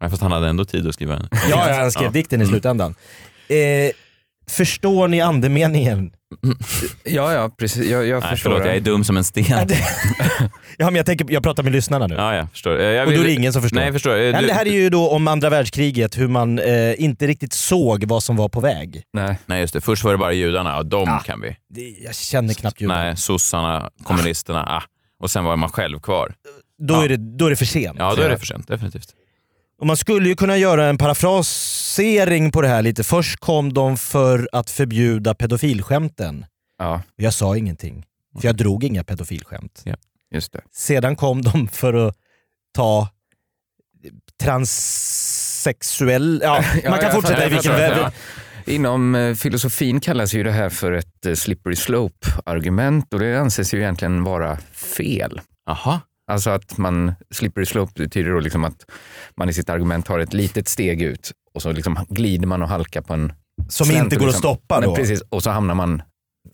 [SPEAKER 1] Nej, Fast han hade ändå tid att skriva en.
[SPEAKER 3] Ja, ja, han skrev dikten i
[SPEAKER 1] Mm.
[SPEAKER 3] slutändan. Eh, förstår ni andemeningen?
[SPEAKER 4] Ja, ja, precis. Jag, jag
[SPEAKER 1] Nej,
[SPEAKER 4] förstår
[SPEAKER 1] förlåt. Jag är dum som en sten.
[SPEAKER 3] Ja, men jag, tänker, jag pratar med lyssnarna nu.
[SPEAKER 1] Ja, jag förstår. Eh, Jag
[SPEAKER 3] Och då är det
[SPEAKER 1] vill-
[SPEAKER 3] ingen som förstår.
[SPEAKER 1] Nej, jag förstår. Eh,
[SPEAKER 3] Nej, men
[SPEAKER 1] du-
[SPEAKER 3] det här är ju då om andra världskriget, hur man eh, inte riktigt såg vad som var på väg.
[SPEAKER 4] Nej.
[SPEAKER 1] Nej, just det. Först var det bara judarna. Ja, de
[SPEAKER 3] Ah.
[SPEAKER 1] kan vi.
[SPEAKER 3] Det, jag känner knappt ljud.
[SPEAKER 1] Nej, sossarna, kommunisterna. Ah. Och sen var man själv kvar.
[SPEAKER 3] Då,
[SPEAKER 1] Ja.
[SPEAKER 3] är det, då är det för sent.
[SPEAKER 1] Ja, då är det för sent. Definitivt.
[SPEAKER 3] Och man skulle ju kunna göra en parafrasering på det här lite. Först kom de för att förbjuda pedofilskämten.
[SPEAKER 4] Ja, Mm.
[SPEAKER 3] Och Jag sa ingenting, för jag drog inga pedofilskämt.
[SPEAKER 4] just det.
[SPEAKER 3] Sedan kom de för att ta transsexuell... Ja,
[SPEAKER 4] Ja,
[SPEAKER 3] man kan
[SPEAKER 4] jag
[SPEAKER 3] fortsätta
[SPEAKER 4] fattar,
[SPEAKER 3] i
[SPEAKER 4] jag
[SPEAKER 3] vilken
[SPEAKER 4] fattar,
[SPEAKER 3] väg.
[SPEAKER 4] ja. Inom eh, filosofin kallas ju det här för ett eh, slippery slope-argument och det anses ju egentligen vara fel.
[SPEAKER 1] Aha.
[SPEAKER 4] Alltså att man, slippery slope betyder då liksom att man i sitt argument tar ett litet steg ut och så liksom glider man och halkar på en
[SPEAKER 3] Som
[SPEAKER 4] slänt
[SPEAKER 3] inte
[SPEAKER 4] och
[SPEAKER 3] går att
[SPEAKER 4] liksom-
[SPEAKER 3] stoppa
[SPEAKER 4] Nej,
[SPEAKER 3] då.
[SPEAKER 4] precis, och så hamnar man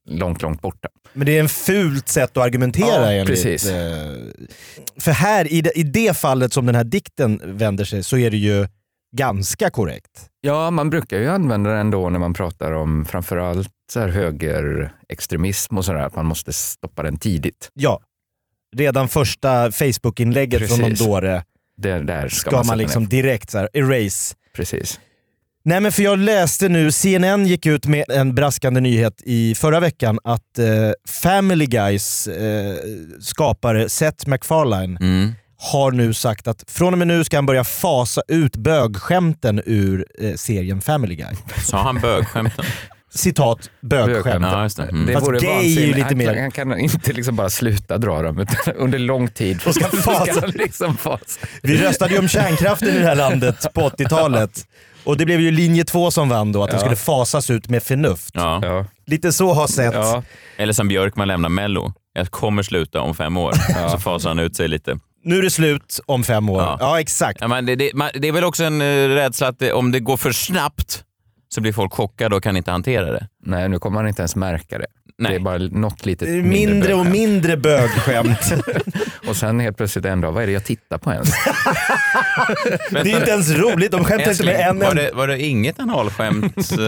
[SPEAKER 4] långt, långt borta.
[SPEAKER 3] Men det är en fult sätt att argumentera
[SPEAKER 4] Ja,
[SPEAKER 3] enligt...
[SPEAKER 4] precis.
[SPEAKER 3] eh, För här, i det, i det fallet som den här dikten vänder sig, så är det ju ganska korrekt.
[SPEAKER 4] Ja, man brukar ju använda den då när man pratar om framförallt så här högerextremism och sådär, att man måste stoppa den tidigt.
[SPEAKER 3] Ja. Redan första Facebook-inlägget från någon
[SPEAKER 4] Precis.
[SPEAKER 3] dåre
[SPEAKER 4] Det, där ska,
[SPEAKER 3] ska man,
[SPEAKER 4] sätta
[SPEAKER 3] liksom
[SPEAKER 4] ner.
[SPEAKER 3] direkt så här, erase.
[SPEAKER 4] Precis.
[SPEAKER 3] Nej men för jag läste nu, CNN gick ut med en braskande nyhet i förra veckan att eh, Family Guys eh, skapare Seth MacFarlane
[SPEAKER 1] Mm.
[SPEAKER 3] har nu sagt att från och med nu ska han börja fasa ut bögskämten ur eh, serien Family Guy.
[SPEAKER 1] Sa han bögskämten?
[SPEAKER 3] Citat bögskämten.
[SPEAKER 1] Ja, just det. Mm.
[SPEAKER 3] Fast
[SPEAKER 4] vore
[SPEAKER 3] gay är ju
[SPEAKER 4] vansinne.
[SPEAKER 3] lite
[SPEAKER 4] han,
[SPEAKER 3] mer...
[SPEAKER 4] kan- Han kan inte liksom bara sluta dra dem utan under lång tid.
[SPEAKER 3] Och ska fasa.
[SPEAKER 4] han liksom fasa.
[SPEAKER 3] Vi röstade ju om kärnkraften i det här landet på 80-talet. Och det blev ju linje 2 som vann då, att den
[SPEAKER 1] Ja.
[SPEAKER 3] skulle fasas ut med förnuft.
[SPEAKER 1] Ja.
[SPEAKER 3] Lite så har sett.
[SPEAKER 1] Eller som Björkman lämnar Mello. Jag kommer sluta om fem år. Så fasar han ut sig lite.
[SPEAKER 3] Nu är det slut om fem år. Ja, exakt.
[SPEAKER 1] Ja, men det, det, man, det är väl också en eh, rädsla att det, om det går för snabbt så blir folk chockade och kan inte hantera det.
[SPEAKER 4] Nej, nu kommer han inte ens märka det. Det är bara något litet
[SPEAKER 3] Det är mindre och mindre bögskämt.
[SPEAKER 4] och sen helt plötsligt en dag, vad är det jag tittar på ens?
[SPEAKER 3] Det är inte ens roligt, de skämtar inte med en
[SPEAKER 1] Var
[SPEAKER 3] enda.
[SPEAKER 1] det, var det inget analskämt eh,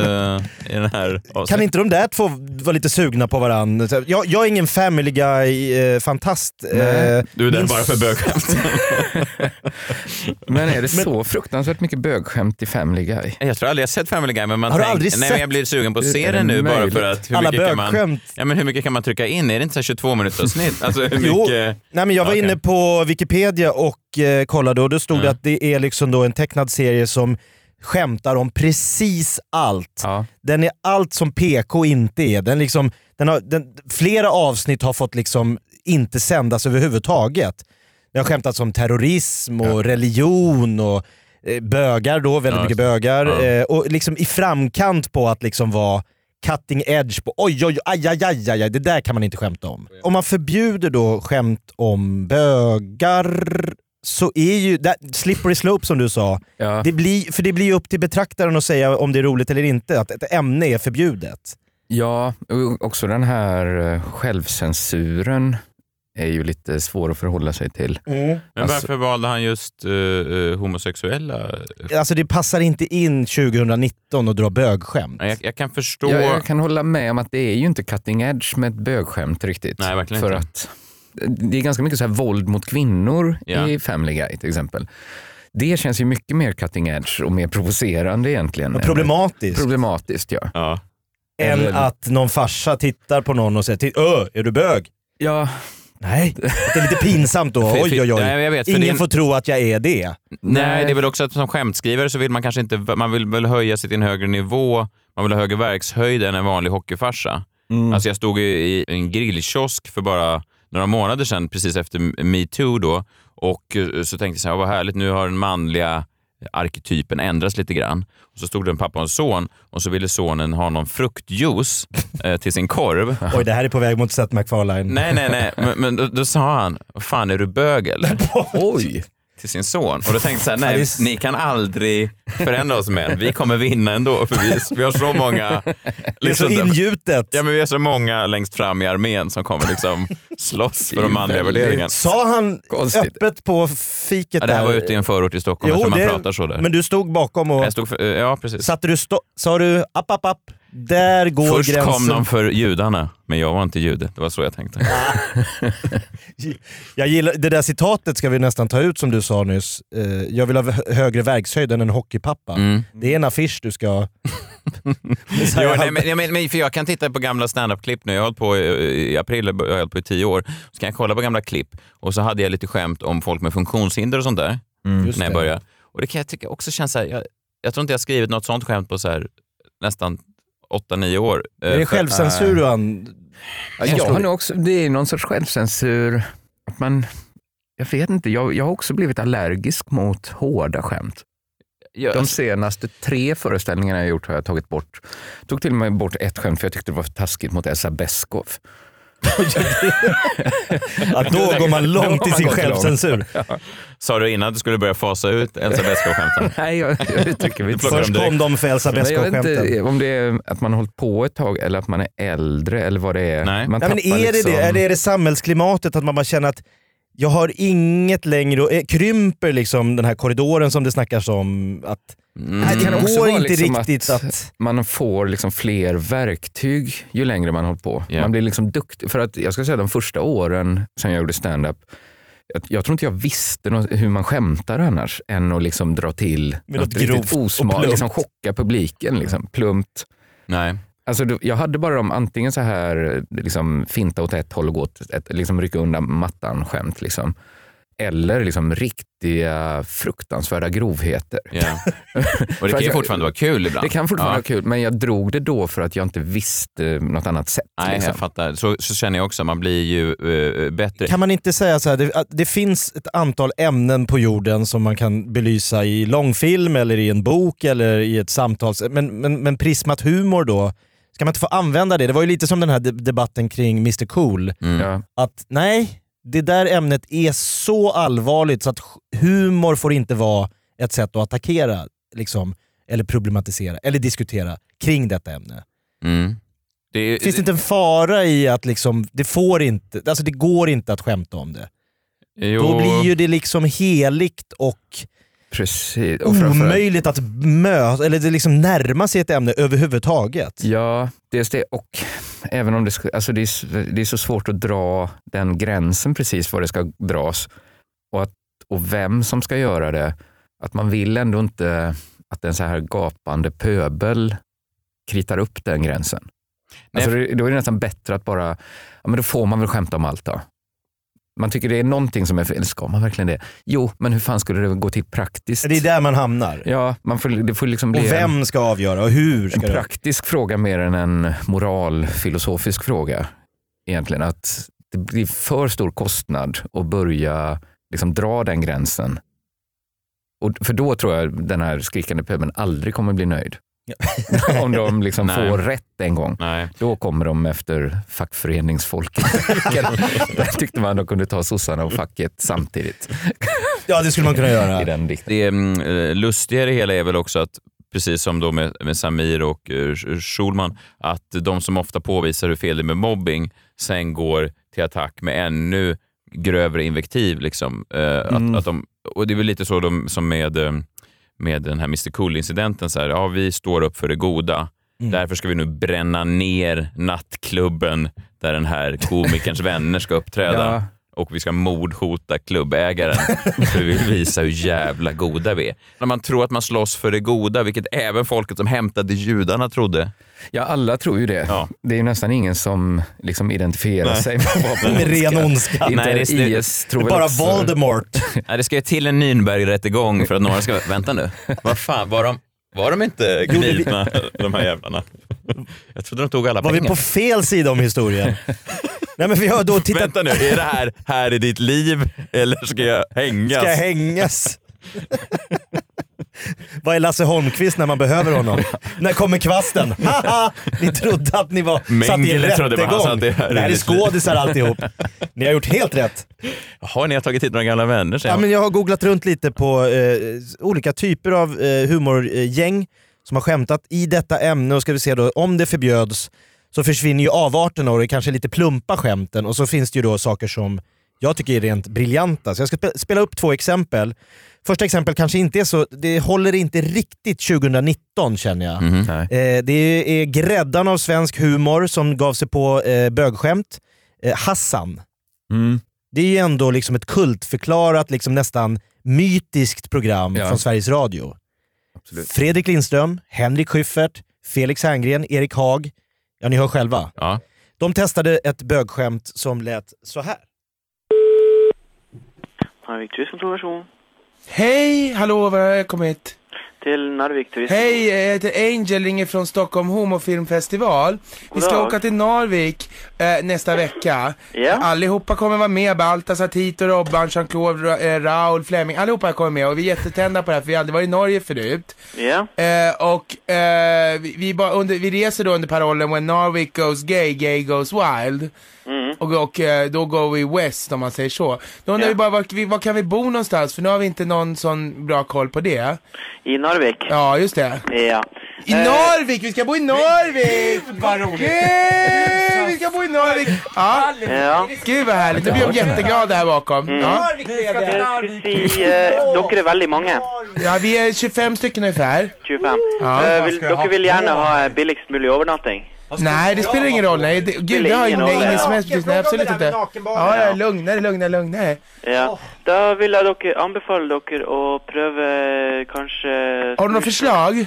[SPEAKER 1] i den här avsnittet?
[SPEAKER 3] Kan inte de där två vara lite sugna på varandra? Jag, jag är ingen eh, family guy-fantast. eh,
[SPEAKER 1] Du är där bara för bögskämt.
[SPEAKER 4] Men är det så fruktansvärt mycket bögskämt i Family Guy?
[SPEAKER 1] Jag tror aldrig jag sett Family Guy, men man
[SPEAKER 4] Har du
[SPEAKER 1] tänker-
[SPEAKER 4] aldrig
[SPEAKER 1] nej,
[SPEAKER 4] sett-
[SPEAKER 1] men jag blir sugen på att
[SPEAKER 4] Är
[SPEAKER 1] se
[SPEAKER 4] det
[SPEAKER 1] den nu bara
[SPEAKER 4] möjligt?
[SPEAKER 1] för att hur
[SPEAKER 4] Alla
[SPEAKER 1] mycket, kan man,
[SPEAKER 3] bögskämt.
[SPEAKER 1] ja, men hur mycket kan man trycka in? Är det inte så här 22 minuters snitt? Alltså, hur
[SPEAKER 3] Jo,
[SPEAKER 1] mycket,
[SPEAKER 3] Nej, men jag var
[SPEAKER 1] Okej.
[SPEAKER 3] inne på Wikipedia och eh, kollade och då stod det
[SPEAKER 1] Mm.
[SPEAKER 3] att det är liksom då en tecknad serie som skämtar om precis allt. Den är allt som PK inte är. Den liksom, den har, den, flera avsnitt har fått liksom inte sändas överhuvudtaget. Det har skämtats om terrorism och religion och eh, bögar då, väldigt
[SPEAKER 1] Ja,
[SPEAKER 3] mycket
[SPEAKER 1] just det.
[SPEAKER 3] bögar.
[SPEAKER 1] Ja.
[SPEAKER 3] Eh, och liksom i framkant på att liksom vara cutting edge på oj, oj, aj, aj, aj, aj, aj, det där kan man inte skämta om. Om man förbjuder då skämt om bögar så är ju, där, slippery slope som du sa, det blir, för det blir ju upp till betraktaren att säga om det är roligt eller inte, att ett ämne är förbjudet.
[SPEAKER 4] Ja, och också den här eh, självcensuren är ju lite svår att förhålla sig till.
[SPEAKER 3] Mm.
[SPEAKER 1] men
[SPEAKER 4] Alltså-
[SPEAKER 1] varför valde han just eh, eh, homosexuella?
[SPEAKER 3] Alltså det passar inte in 2019 att dra bögskämt.
[SPEAKER 1] Nej, Jag, jag kan förstå...
[SPEAKER 4] Jag, jag kan hålla med om att det är ju inte cutting edge med ett bögskämt riktigt.
[SPEAKER 1] Nej, verkligen
[SPEAKER 4] För
[SPEAKER 1] inte.
[SPEAKER 4] att eh, det är ganska mycket så här våld mot kvinnor
[SPEAKER 1] Ja.
[SPEAKER 4] i Family Guy till exempel. Det känns ju mycket mer cutting edge och mer provocerande egentligen.
[SPEAKER 3] Och
[SPEAKER 4] än-
[SPEAKER 3] problematiskt.
[SPEAKER 4] Problematiskt ja.
[SPEAKER 1] ja.
[SPEAKER 3] Än att någon farsa tittar på någon och säger "Titt- Öh, är du bög?
[SPEAKER 4] Ja.
[SPEAKER 3] Nej, det är lite pinsamt då.
[SPEAKER 1] För- för-
[SPEAKER 3] Oj, oj, oj.
[SPEAKER 1] Nej, jag vet, för
[SPEAKER 3] Ingen
[SPEAKER 1] det är en-
[SPEAKER 3] får tro att jag är det.
[SPEAKER 1] Nej, det är väl också att som skämtskrivare så vill man kanske inte, man vill väl höja sig till en högre nivå, man vill ha högre verkshöjd än en vanlig hockeyfarsa. Alltså jag stod ju i en grillkiosk för bara några månader sedan, precis efter metoo då, och eh, så tänkte jag så här, vad härligt, nu har den manliga arketypen ändras lite grann. Och så stod det en pappa och en son och så ville sonen ha någon fruktjuice eh, till sin korv.
[SPEAKER 3] Oj, det här är på väg mot Seth MacFarlane.
[SPEAKER 1] Nej, nej, nej. Men, men då, då sa han, "Vad fan är du bög eller?
[SPEAKER 4] Oj!
[SPEAKER 1] Till sin son. Och då tänkte jag så här,
[SPEAKER 3] Ja, det
[SPEAKER 1] nej,
[SPEAKER 3] är s-
[SPEAKER 1] ni kan aldrig förändra oss män. Vi kommer vinna ändå, för vi, vi har så många...
[SPEAKER 3] Det är så
[SPEAKER 1] liksom-
[SPEAKER 3] ingjutet.
[SPEAKER 1] Ja, men vi är så många längst fram i armén som kommer liksom slåss för de manliga värderingarna.
[SPEAKER 3] Sa han
[SPEAKER 1] Konstigt.
[SPEAKER 3] öppet på fiket
[SPEAKER 1] Ja, det här
[SPEAKER 3] där?
[SPEAKER 1] var ute i en förort i Stockholm, jag tror man pratar så där.
[SPEAKER 3] Men du stod bakom och...
[SPEAKER 1] jag stod för, ja, precis.
[SPEAKER 3] Satte du sto- sa du app, app, app, där går
[SPEAKER 1] Först
[SPEAKER 3] gränsen.
[SPEAKER 1] kom de för judarna, men jag var inte jude. Det var så jag tänkte.
[SPEAKER 3] Jag gillar, det där citatet ska vi nästan ta ut som du sa nyss. Eh, jag vill ha hö- högre verkshöjd än en hockeypappa.
[SPEAKER 1] Mm.
[SPEAKER 3] Det är en affisch du ska... Så
[SPEAKER 1] Jo,
[SPEAKER 3] här-
[SPEAKER 1] nej, men, jag men, men, för jag kan titta på gamla standup-klipp nu. Jag har hållit på i, i april, jag har hållit på i tio år. Så kan jag kolla på gamla klipp och så hade jag lite skämt om folk med funktionshinder och sånt där
[SPEAKER 3] Just
[SPEAKER 1] när jag
[SPEAKER 3] det.
[SPEAKER 1] började. Och det kan jag tycka också känns så här, jag, jag tror inte jag har skrivit något sånt skämt på så här, nästan 8-9 år. Eh,
[SPEAKER 3] Är det
[SPEAKER 1] för-
[SPEAKER 3] självcensur du an...
[SPEAKER 4] Ja, jag har nog också, det är någon sorts självcensur. Att man, jag vet inte, jag, jag har också blivit allergisk mot hårda skämt.
[SPEAKER 1] Ja,
[SPEAKER 4] De
[SPEAKER 3] alltså-
[SPEAKER 4] senaste tre föreställningarna jag gjort har jag tagit bort. tog till och med bort ett skämt för jag tyckte det var för taskigt mot Elsa Beskow.
[SPEAKER 3] Ja, då går man
[SPEAKER 4] Då har
[SPEAKER 3] långt i
[SPEAKER 4] man
[SPEAKER 3] sin
[SPEAKER 4] gått
[SPEAKER 3] självcensur.
[SPEAKER 1] Sa du innan att du skulle börja fasa ut Elsa Beskow-skämten?
[SPEAKER 4] Nej, jag, jag uttrycker mig inte så.
[SPEAKER 3] Först kom de för Elsa
[SPEAKER 4] Men Jag vet inte
[SPEAKER 3] Beskow-skämten.
[SPEAKER 4] om det är att man har hållit på ett tag eller att man är äldre eller vad det är.
[SPEAKER 1] Nej.
[SPEAKER 4] Man
[SPEAKER 3] Nej, men
[SPEAKER 4] tappar
[SPEAKER 3] är det
[SPEAKER 4] liksom-
[SPEAKER 3] det? Eller är det samhällsklimatet att man bara känner att jag har inget längre och eh, krymper liksom den här korridoren som det snackas om. Att, nej, det,
[SPEAKER 4] kan också
[SPEAKER 3] går
[SPEAKER 4] vara
[SPEAKER 3] inte
[SPEAKER 4] liksom
[SPEAKER 3] riktigt
[SPEAKER 4] att-
[SPEAKER 3] att...
[SPEAKER 4] man får liksom fler verktyg ju längre man håller på.
[SPEAKER 1] Ja.
[SPEAKER 4] Man blir liksom duktig. För att jag ska säga de första åren sen jag gjorde stand-up, jag, jag tror inte jag visste nå- hur man skämtar annars än att liksom dra till
[SPEAKER 3] Med något
[SPEAKER 4] riktigt
[SPEAKER 3] grovt och
[SPEAKER 4] osmart,
[SPEAKER 3] plumpt.
[SPEAKER 4] liksom chocka publiken. Liksom, plumpt.
[SPEAKER 1] Nej.
[SPEAKER 4] Alltså, då- jag hade bara de antingen så här, liksom, finta åt ett håll och gå åt ett, liksom, rycka undan mattan-skämt. Liksom. eller liksom riktiga fruktansvärda grovheter.
[SPEAKER 1] Och det kan ju fortfarande vara kul ibland.
[SPEAKER 4] Det kan fortfarande
[SPEAKER 1] Ja.
[SPEAKER 4] vara kul, men jag drog det då för att jag inte visste något annat sätt.
[SPEAKER 1] Nej,
[SPEAKER 4] liksom.
[SPEAKER 1] jag fattar. Så, så känner jag också. Man blir ju eh, bättre.
[SPEAKER 3] Kan man inte säga så här, det, att det finns ett antal ämnen på jorden som man kan belysa i långfilm eller i en bok eller i ett samtal. Men, men, men prismat humor då, ska man inte få använda det? Det var ju lite som den här de- debatten kring Mr Cool.
[SPEAKER 1] Mm.
[SPEAKER 3] Att nej, det där ämnet är så allvarligt så att sch- humor får inte vara ett sätt att attackera, liksom, eller problematisera, eller diskutera kring detta ämne.
[SPEAKER 1] Mm. Det,
[SPEAKER 3] Finns det inte en fara i att liksom, det får inte, alltså det går inte att skämta om det?
[SPEAKER 1] Jo.
[SPEAKER 3] Då blir ju det liksom heligt och
[SPEAKER 4] Precis.
[SPEAKER 3] Oh,
[SPEAKER 4] Och framförallt-
[SPEAKER 3] omöjligt att möta, eller det liksom närma sig ett ämne överhuvudtaget.
[SPEAKER 4] Ja, dels det och även om det, sk- alltså det, är, s- det är så svårt att dra den gränsen precis var det ska dras och, att, och vem som ska göra det. Att man vill ändå inte att en så här gapande pöbel kritar upp den gränsen. Alltså det, då är det nästan bättre att bara, ja men då får man väl skämta om allt då. Man tycker det är någonting som är fel, ska man verkligen det? Jo, men hur fan skulle det gå till praktiskt?
[SPEAKER 3] Det är där man hamnar.
[SPEAKER 4] Ja, man får, det får liksom bli
[SPEAKER 3] Och
[SPEAKER 4] en-
[SPEAKER 3] vem ska avgöra och hur ska
[SPEAKER 4] en
[SPEAKER 3] det...
[SPEAKER 4] praktisk fråga mer än en moralfilosofisk fråga. Egentligen att det blir för stor kostnad att börja liksom dra den gränsen. Och för då tror jag den här skrikande pöbeln aldrig kommer bli nöjd. Om de liksom
[SPEAKER 1] Nej.
[SPEAKER 4] får rätt en gång.
[SPEAKER 1] Nej.
[SPEAKER 4] Då kommer de efter fackföreningsfolket. Där tyckte man de kunde ta sossarna och facket samtidigt.
[SPEAKER 3] Ja, det skulle man kunna göra.
[SPEAKER 4] I den dikten.
[SPEAKER 1] Det mm, eh, lustiga i det hela är väl också att precis som då med, med Samir och eh, Sch- Schulman, att de som ofta påvisar hur fel det är med mobbing sen går till attack med ännu grövre invektiv. Liksom. Eh,
[SPEAKER 4] Mm.
[SPEAKER 1] att, att de, och Det är väl lite så de, som med, eh, med den här Mr Cool-incidenten. Så här, ja, vi står upp för det goda.
[SPEAKER 4] Mm.
[SPEAKER 1] Därför ska vi nu bränna ner nattklubben där den här komikerns vänner ska uppträda.
[SPEAKER 4] Ja.
[SPEAKER 1] Och vi ska mordhota klubbägaren för vi vill visa hur jävla goda vi är. När man tror att man slåss för det goda, vilket även folket som hämtade judarna trodde.
[SPEAKER 4] Ja, alla tror ju det. Det är ju nästan ingen som liksom identifierar
[SPEAKER 1] Nej.
[SPEAKER 4] sig med att vara på
[SPEAKER 1] Med ren ondska.
[SPEAKER 4] Inte
[SPEAKER 1] Nej, det är snyggt.
[SPEAKER 4] IS tror
[SPEAKER 1] Det är
[SPEAKER 4] väl
[SPEAKER 1] bara
[SPEAKER 4] också-
[SPEAKER 1] Voldemort. Nej, det ska ju till en Nürnberg-rättegång för att några ska... Vänta nu. Vad fan, var de, var de inte
[SPEAKER 3] Gjorde vi-
[SPEAKER 1] knivna, de här jävlarna? Jag trodde de tog alla
[SPEAKER 3] Var vi
[SPEAKER 1] pengar.
[SPEAKER 3] på fel sida om historien? Nej men vi har då tittat...
[SPEAKER 1] Vänta nu, är det här, här är ditt liv eller ska jag hängas?
[SPEAKER 3] Ska jag hängas? Vad är Lasse Holmqvist när man behöver honom? när kommer kvasten? Haha! ni trodde att ni var satt i en
[SPEAKER 1] Mengele trodde man
[SPEAKER 3] rättegång.
[SPEAKER 1] satt i-
[SPEAKER 3] det här är skådisar alltihop. Ni har gjort helt rätt.
[SPEAKER 1] Jaha, ni har tagit hit några gamla vänner säger
[SPEAKER 3] Ja,
[SPEAKER 1] man.
[SPEAKER 3] men jag har googlat runt lite på eh, olika typer av eh, humorgäng som har skämtat i detta ämne och ska vi se då, om det förbjöds så försvinner ju avarterna och det kanske lite plumpa skämten och så finns det ju då saker som jag tycker är rent briljanta. Så jag ska spe- spela upp två exempel. Första exempel kanske inte är så, det håller inte riktigt 2019 känner jag.
[SPEAKER 1] Mhm.
[SPEAKER 3] Eh, det är gräddan av svensk humor som gav sig på eh, bögskämt. Eh, Hassan. Det är ju ändå liksom ett kultförklarat, liksom nästan mytiskt program
[SPEAKER 4] Ja.
[SPEAKER 3] från Sveriges Radio. Fredrik Lindström, Henrik Schyffert, Felix Herngren, Erik Haag. Ja, ni hör själva.
[SPEAKER 1] Ja.
[SPEAKER 3] De testade ett bögskämt som lät så här.
[SPEAKER 13] Narvik turismkontor,
[SPEAKER 14] Hej, hallå, var har jag kommit?
[SPEAKER 13] Till Narvik turism.
[SPEAKER 14] Hej, jag heter Angel, ringer från Stockholm Homofilmfestival. Vi ska
[SPEAKER 13] Goddag.
[SPEAKER 14] åka till Narvik eh, nästa vecka.
[SPEAKER 13] Ja.
[SPEAKER 14] Allihopa kommer vara med, Baltasar, Tito, Robban, Jean-Claude, Ra- eh, Raoul, Fleming. Allihopa kommer med och vi är jättetända på det här för vi har aldrig varit i Norge förut.
[SPEAKER 13] Ja.
[SPEAKER 14] Eh, och eh, vi, vi, bara under, vi reser då under parollen When Narvik goes gay, gay goes wild. Och, och eh, då går vi west om man säger så. Då undrar
[SPEAKER 13] Mm. Ja.
[SPEAKER 14] vi bara var, vi- var kan vi bo någonstans för nu har vi inte någon sån bra koll på det.
[SPEAKER 13] I Narvik?
[SPEAKER 14] Ja, just det.
[SPEAKER 13] Ja. Eh,
[SPEAKER 14] I Narvik! Vi ska bo i Narvik! Vad roligt! Gud, vi ska bo i Narvik! Ja.
[SPEAKER 13] Ja.
[SPEAKER 14] Gud vad härligt, nu blir de jätteglada här bakom.
[SPEAKER 13] Mm.
[SPEAKER 14] Ja.
[SPEAKER 13] Vi, eh, dere är väldigt många.
[SPEAKER 14] ja, vi är 25 stycken ungefär.
[SPEAKER 13] 25.
[SPEAKER 14] Ja.
[SPEAKER 13] Eh, vill, dere vill gjerne ha eh, billigst mulig overnatting.
[SPEAKER 14] Nej, det spelar ingen roll. Nej, det, gud, det har
[SPEAKER 13] ingen roll,
[SPEAKER 14] nej, ingen
[SPEAKER 13] ja.
[SPEAKER 14] som helst betydelse. Nej, absolut inte. Ja, ja, lugnare, lugnare, lugnare.
[SPEAKER 13] Ja. Da vil jeg dere anbefale dere å prøve kanskje
[SPEAKER 14] Har du
[SPEAKER 13] Mm.
[SPEAKER 14] något förslag?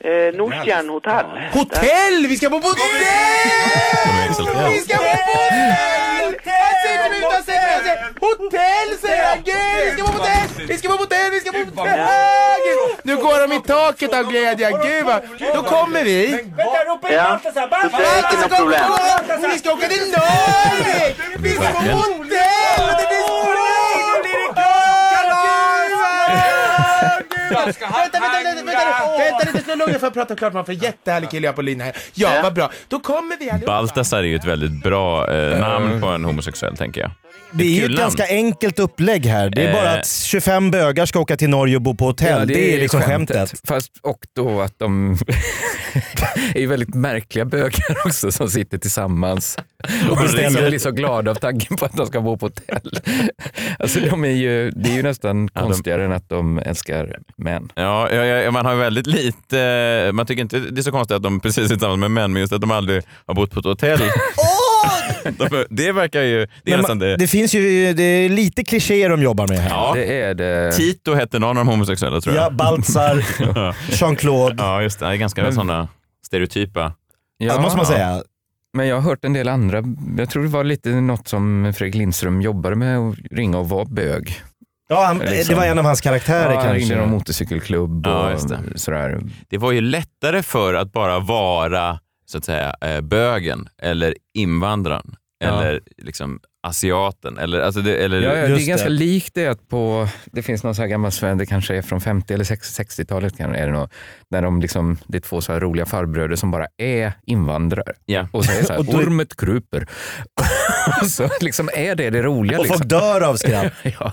[SPEAKER 13] Eh, Nordstjern hotell.
[SPEAKER 14] Hotell! Vi ska bo på hotell!
[SPEAKER 1] De är exalterade.
[SPEAKER 14] Vi ska bo på hotell! Vad säger du utan sex! Jag säger, Hotell säger han! Gay! Vi ska vara på hotell! Vi ska vara på hotell! Vi ska vara på hotell! Ah, gud. Nu går de i taket av glädje. Gud vad... Då kommer vi.
[SPEAKER 15] Vänta, ropa in Baltasar! Baltasar!
[SPEAKER 14] Baltasar kommer! Vi ska åka till Norge! Vi ska på
[SPEAKER 15] Verkligen.
[SPEAKER 14] hotell! Och det blir Vänta, vänta, vänta, vänta, vänta lite, slå lugnet för att prata klart. Man får jättehärlig kille jag på linjen här. Ja, vad bra. Då kommer vi allihopa.
[SPEAKER 1] Baltasar är ju ett väldigt bra eh, namn på en homosexuell, tänker jag.
[SPEAKER 3] Det är ju
[SPEAKER 1] kul
[SPEAKER 3] ett
[SPEAKER 1] namn.
[SPEAKER 3] ganska enkelt upplägg här. Det är bara
[SPEAKER 1] Eh.
[SPEAKER 3] att 25 bögar ska åka till Norge och bo på hotell. det, är liksom skämtet.
[SPEAKER 4] Fast, och då att de är ju väldigt märkliga bögar också som sitter tillsammans och liksom blir så glada av tanken på att de ska bo på hotell. Alltså de är ju, det är ju nästan konstigare än att de älskar män.
[SPEAKER 1] Ja, ja, ja, man har ju väldigt lite... eh, Man tycker inte det är så konstigt att de precis är tillsammans med män, men just att de aldrig har bott på ett hotell. de, det verkar ju... Det är
[SPEAKER 3] Men
[SPEAKER 1] nästan
[SPEAKER 3] man,
[SPEAKER 1] det.
[SPEAKER 3] det finns ju det är lite klichéer de jobbar med här.
[SPEAKER 1] Ja. Tito hette någon av de homosexuella tror jag.
[SPEAKER 3] Ja, Baltzar, Jean-Claude.
[SPEAKER 1] Ja, just det. Det är ganska
[SPEAKER 3] Men-
[SPEAKER 1] sådana stereotypa.
[SPEAKER 4] Men jag har hört en del andra, jag tror det var lite något som Fredrik Lindström jobbade med, att ringa och vara bög.
[SPEAKER 3] Ja, han,
[SPEAKER 1] Liksom.
[SPEAKER 3] det var en av hans karaktärer
[SPEAKER 4] ja, han
[SPEAKER 3] kanske.
[SPEAKER 4] ringde någon motorcykelklubb och
[SPEAKER 1] Ja, just det.
[SPEAKER 4] sådär.
[SPEAKER 1] Det var ju lättare för att bara vara så att säga eh, bögen eller invandraren
[SPEAKER 4] Ja.
[SPEAKER 1] eller liksom asiaten. Eller, alltså det, eller,
[SPEAKER 4] Ja, ja, det är ganska likt det att på, det finns någon så här gammal svensk, det kanske är från 50 eller 60 60-talet, kan- är det nog, när de liksom, det är två så här roliga farbröder som bara är invandrare. Och så är det så här,
[SPEAKER 3] Och då-
[SPEAKER 4] ormet kryper. Och så liksom är det det roliga.
[SPEAKER 1] Och folk
[SPEAKER 4] liksom.
[SPEAKER 3] dör av skratt.
[SPEAKER 4] ja.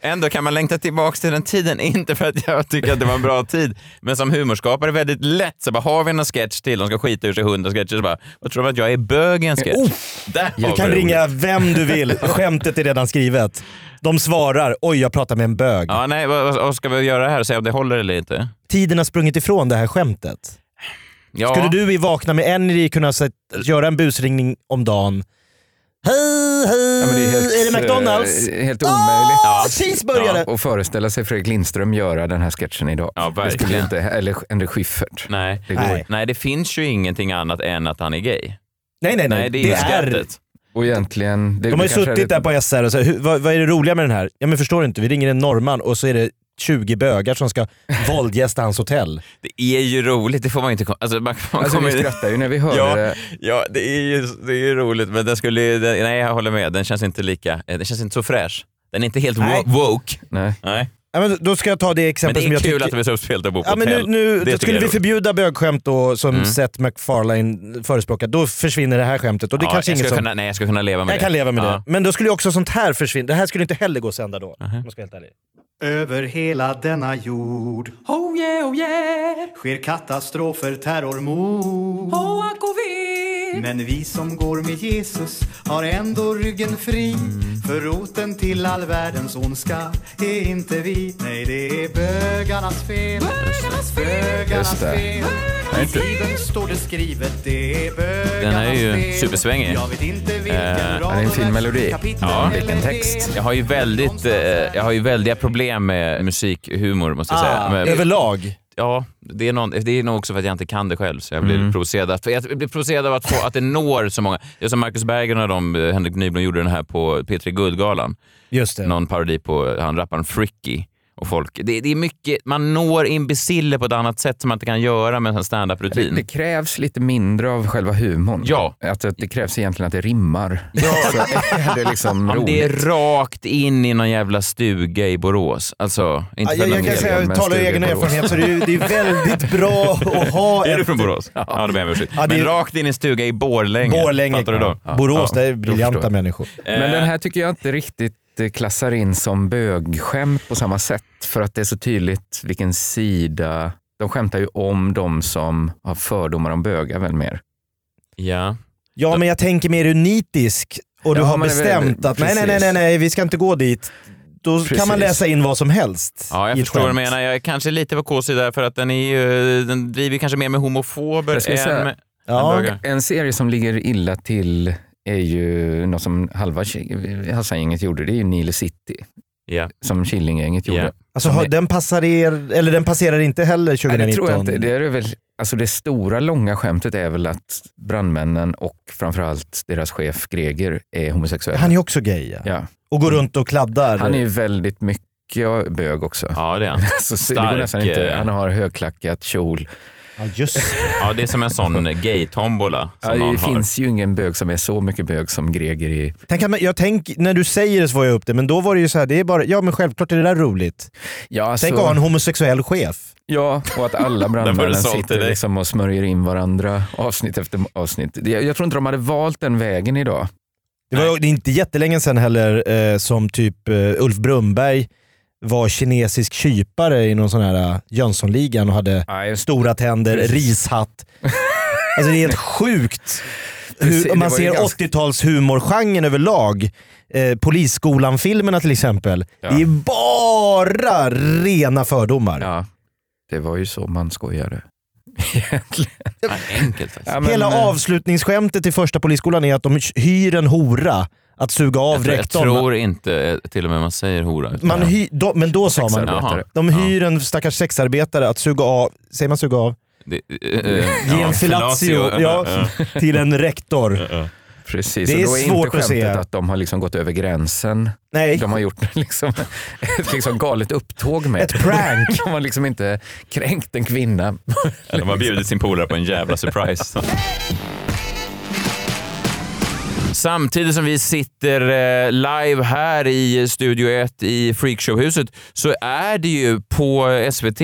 [SPEAKER 1] Ändå kan man längta tillbaka till den tiden, inte för att jag tycker att det var en bra tid, men som humorskapare väldigt lätt. Så bara, har vi någon sketch till, de ska skita ur sig hundra sketcher, så bara, vad tror du att jag är bög i en sketch?
[SPEAKER 3] Oh!
[SPEAKER 1] Där har
[SPEAKER 3] Du
[SPEAKER 1] vi
[SPEAKER 3] kan
[SPEAKER 1] roligt.
[SPEAKER 3] ringa vem du vill. Skämtet är redan skrivet. De svarar “Oj, jag pratar med en bög”.
[SPEAKER 1] Ja, nej, vad, vad- vad ska vi göra här? Se om det håller eller inte?
[SPEAKER 3] Tiden har sprungit ifrån det här skämtet.
[SPEAKER 1] Ja.
[SPEAKER 3] Skulle du i Vakna med Energy kunna sett, göra en busringning om dagen? Hej, hej!
[SPEAKER 4] Ja, men
[SPEAKER 3] Mm, är, det McDonalds? Ah,
[SPEAKER 4] eh, Helt omöjligt.
[SPEAKER 3] Ja. cheeseburgare!
[SPEAKER 4] och föreställa sig Fredrik Lindström göra den här sketchen idag. det skulle
[SPEAKER 1] verkligen.
[SPEAKER 4] inte, eller Henry Schyffert.
[SPEAKER 1] Nej.
[SPEAKER 4] Det går
[SPEAKER 1] Nej.
[SPEAKER 4] inte.
[SPEAKER 1] nej, det finns ju ingenting annat än att han är gay.
[SPEAKER 3] Eh, Nej, nej, nej.
[SPEAKER 1] Nej, det är skrattet.
[SPEAKER 4] Och egentligen... Det,
[SPEAKER 3] De har ju
[SPEAKER 4] det kanske är
[SPEAKER 3] suttit
[SPEAKER 4] det-
[SPEAKER 3] där på SR och sagt, vad, vad är det roliga med den här? Ja men förstår du inte, vi ringer en norrman och så är det 20 bögar som ska våldgästa hans hotell.
[SPEAKER 1] Det är ju roligt, det får man inte... kom- Alltså, man, man
[SPEAKER 3] Alltså, vi skrattar ju när vi hörde
[SPEAKER 1] ja,
[SPEAKER 3] det.
[SPEAKER 1] Ja, det är ju det är ju roligt, men den skulle ju- den, Nej, jag håller med. Den känns inte lika... eh, Den känns inte så fräsch. Den är inte helt
[SPEAKER 3] Nej.
[SPEAKER 1] wo- woke.
[SPEAKER 4] Nej.
[SPEAKER 1] Nej.
[SPEAKER 3] Ja, men då ska jag ta det
[SPEAKER 1] Men
[SPEAKER 3] exempel
[SPEAKER 1] det
[SPEAKER 3] som
[SPEAKER 1] är
[SPEAKER 3] jag
[SPEAKER 1] kul
[SPEAKER 3] tycker...
[SPEAKER 1] att det blir så uppspelat att bo på
[SPEAKER 3] Ja, men nu,
[SPEAKER 1] hotell.
[SPEAKER 3] nu
[SPEAKER 1] Det
[SPEAKER 3] då
[SPEAKER 1] tycker jag
[SPEAKER 3] skulle
[SPEAKER 1] är
[SPEAKER 3] vi
[SPEAKER 1] roligt.
[SPEAKER 3] förbjuda bögskämt då, som
[SPEAKER 1] Mm.
[SPEAKER 3] Seth MacFarlane förespråkar, då försvinner det här skämtet. Och det
[SPEAKER 1] Ja,
[SPEAKER 3] kanske
[SPEAKER 1] jag
[SPEAKER 3] inget
[SPEAKER 1] ska
[SPEAKER 3] som...
[SPEAKER 1] kunna, Nej, jag ska kunna leva med
[SPEAKER 3] jag
[SPEAKER 1] det.
[SPEAKER 3] kan leva med
[SPEAKER 1] Ja.
[SPEAKER 3] det. Men då skulle ju också sånt här försvinna. Det här skulle inte heller gå att sända då.
[SPEAKER 1] Mhm.
[SPEAKER 3] om jag ska vara helt ärlig.
[SPEAKER 16] Över hela denna jord
[SPEAKER 17] Oh yeah, oh yeah,
[SPEAKER 16] sker katastrofer, terrormord.
[SPEAKER 17] oh ack och ve.
[SPEAKER 16] Men vi som går med Jesus har ändå ryggen fri. För roten till all världens ondska är inte vi. Nej, det är bögarnas fel. Bögarnas fel. Bögarnas
[SPEAKER 1] Just det.
[SPEAKER 16] fel.
[SPEAKER 1] Nej,
[SPEAKER 16] I
[SPEAKER 1] inte-
[SPEAKER 16] Bibeln står det skrivet, det är bögarnas
[SPEAKER 1] Den här är ju
[SPEAKER 16] fel.
[SPEAKER 1] supersvängig.
[SPEAKER 16] Jag vet inte vilken
[SPEAKER 1] Eh,
[SPEAKER 16] rad och vers, kapitel
[SPEAKER 1] Ja.
[SPEAKER 16] eller
[SPEAKER 1] Jag har ju väldigt, eh, jag har ju väldiga problem med musikhumor måste jag
[SPEAKER 3] Ah,
[SPEAKER 1] säga. Men-
[SPEAKER 3] överlag?
[SPEAKER 1] Ja, det är, någon, det är nog också för att jag inte kan det själv, så jag
[SPEAKER 3] Mm.
[SPEAKER 1] blir provocerad. Att, jag blir provocerad av att, få, att det når så många. Det är som Marcus Berggren och de, eh, Henrik Nyblom gjorde den här på P3 Guldgalan.
[SPEAKER 3] Just det.
[SPEAKER 1] Någon parodi på eh, han rapparen Fricky. Och folk, det, det är mycket, man når imbeciller på ett annat sätt som man inte kan göra med en
[SPEAKER 4] Det,
[SPEAKER 1] standup-rutin.
[SPEAKER 4] det krävs lite mindre av själva humorn. Ja. Att, att det krävs egentligen att det rimmar. Så är det liksom
[SPEAKER 1] Ja, men
[SPEAKER 4] roligt.
[SPEAKER 1] det är rakt in i någon jävla stuga i Borås. Alltså, inte
[SPEAKER 3] Ja,
[SPEAKER 1] för att
[SPEAKER 3] jag, jag kan
[SPEAKER 1] de-
[SPEAKER 3] säga,
[SPEAKER 1] men
[SPEAKER 3] jag talar
[SPEAKER 1] stuga
[SPEAKER 3] egen
[SPEAKER 1] i Borås.
[SPEAKER 3] erfarenhet, så det är, ju- det är väldigt bra att ha
[SPEAKER 1] Är du
[SPEAKER 3] ett...
[SPEAKER 1] från Borås? Ja, då ber jag om ursäkt. Men rakt in i en stuga i Borlänge.
[SPEAKER 3] Borlänge,
[SPEAKER 1] Fattar du då? Eh,
[SPEAKER 3] ja. Borås,
[SPEAKER 1] Ja,
[SPEAKER 3] där är
[SPEAKER 1] då
[SPEAKER 3] briljanta
[SPEAKER 1] förstår jag.
[SPEAKER 3] människor.
[SPEAKER 4] Men den här tycker jag inte riktigt eh, klassar in som bögskämt på samma sätt. För att det är så tydligt vilken sida... De skämtar ju om de som har fördomar om bögar väl mer.
[SPEAKER 1] Ja.
[SPEAKER 3] Ja, men jag tänker mer du nitisk och du
[SPEAKER 4] Ja,
[SPEAKER 3] har
[SPEAKER 4] men det är väl-
[SPEAKER 3] bestämt att nej, nej, nej, nej, nej, vi ska inte gå dit. Då kan man
[SPEAKER 1] Precis.
[SPEAKER 3] läsa in vad som helst.
[SPEAKER 1] Ja, jag
[SPEAKER 3] i ett
[SPEAKER 1] förstår vad du
[SPEAKER 3] skämt.
[SPEAKER 1] menar. Jag är kanske lite på KC där för att den, är ju, den driver kanske mer med homofober
[SPEAKER 4] Jag skulle
[SPEAKER 1] än
[SPEAKER 4] säga-
[SPEAKER 1] med...
[SPEAKER 4] Ja.
[SPEAKER 1] än bögar.
[SPEAKER 4] En serie som ligger illa till är ju något som halva Ki- Hassan-gänget gjorde, det är ju Nile City. Som Killinggänget gjorde.
[SPEAKER 3] Alltså, har, den, passar er, eller den passerar inte heller
[SPEAKER 4] Nej, det
[SPEAKER 3] 2019.
[SPEAKER 4] tror jag inte. Det är det väl Alltså det stora långa skämtet är väl att brandmännen och framförallt deras chef Greger är homosexuella.
[SPEAKER 3] Han är också gay ja.
[SPEAKER 4] Ja.
[SPEAKER 3] Och går runt och kladdar.
[SPEAKER 4] Han är ju väldigt mycket bög också.
[SPEAKER 1] Ja, det är han.
[SPEAKER 4] så, det går nästan
[SPEAKER 1] Stark,
[SPEAKER 4] inte.
[SPEAKER 1] eh,
[SPEAKER 4] Han har högklackat kjol.
[SPEAKER 3] Ja, just
[SPEAKER 1] Ja, det är som en sån gay-tombola som
[SPEAKER 4] Ja,
[SPEAKER 1] någon
[SPEAKER 4] det
[SPEAKER 1] har.
[SPEAKER 4] finns ju ingen bög som är så mycket bög som Greger i...
[SPEAKER 3] Tänk, att man- jag tänk, när du säger det så får jag upp det, men då var det ju så här, det är bara, ja men självklart är det där roligt.
[SPEAKER 4] Ja, alltså-
[SPEAKER 3] Tänk att ha en homosexuell chef.
[SPEAKER 4] Ja, och att alla
[SPEAKER 3] Den var
[SPEAKER 4] brandmännen
[SPEAKER 3] det såld till
[SPEAKER 4] sitter
[SPEAKER 3] dig.
[SPEAKER 4] liksom och smörjer in varandra avsnitt efter avsnitt. Jag, jag tror inte de hade valt den vägen idag.
[SPEAKER 3] Det var det är inte jättelänge sedan heller eh, som typ eh, Ulf Brunnberg var kinesisk kypare i någon sån här eh, Jönssonligan och hade stora tänder,
[SPEAKER 4] Precis.
[SPEAKER 3] rishatt. Alltså det är helt sjukt.
[SPEAKER 4] Precis,
[SPEAKER 3] Hur, om man
[SPEAKER 4] det var ju
[SPEAKER 3] ser
[SPEAKER 4] ganska-
[SPEAKER 3] 80-tals humorgenren överlag. Eh, Polisskolan-filmerna till exempel.
[SPEAKER 4] Ja.
[SPEAKER 3] Det är bara rena fördomar.
[SPEAKER 4] Det var ju så man skojade.
[SPEAKER 1] Enkelt alltså. faktiskt.
[SPEAKER 3] Hela
[SPEAKER 4] eh,
[SPEAKER 3] avslutningsskämtet i första Polisskolan är att de hyr en hora att suga av
[SPEAKER 1] Jag, tror- jag
[SPEAKER 3] rektorn.
[SPEAKER 1] tror inte eh, till och med man säger hora. utan-
[SPEAKER 3] Man hy, då, men då sa man
[SPEAKER 1] Jaha.
[SPEAKER 3] De hyr en stackars sexarbetare att suga av, säger man suga av?
[SPEAKER 1] Det- eh,
[SPEAKER 3] Ge
[SPEAKER 1] ja,
[SPEAKER 3] en fellatio
[SPEAKER 1] fellatio.
[SPEAKER 3] ja, till en rektor.
[SPEAKER 4] Precis,
[SPEAKER 3] Det
[SPEAKER 4] och
[SPEAKER 3] är
[SPEAKER 4] då är
[SPEAKER 3] svårt att
[SPEAKER 4] inte skämtet
[SPEAKER 3] se.
[SPEAKER 4] att de har liksom gått över gränsen.
[SPEAKER 3] Nej.
[SPEAKER 4] De har gjort liksom, ett liksom galet upptåg med.
[SPEAKER 3] Ett prank.
[SPEAKER 4] De har liksom inte kränkt en kvinna.
[SPEAKER 1] De har bjudit sin polare på en jävla surprise. Samtidigt som vi sitter eh, live här i Studio 1 i Freakshowhuset så är det ju på SVT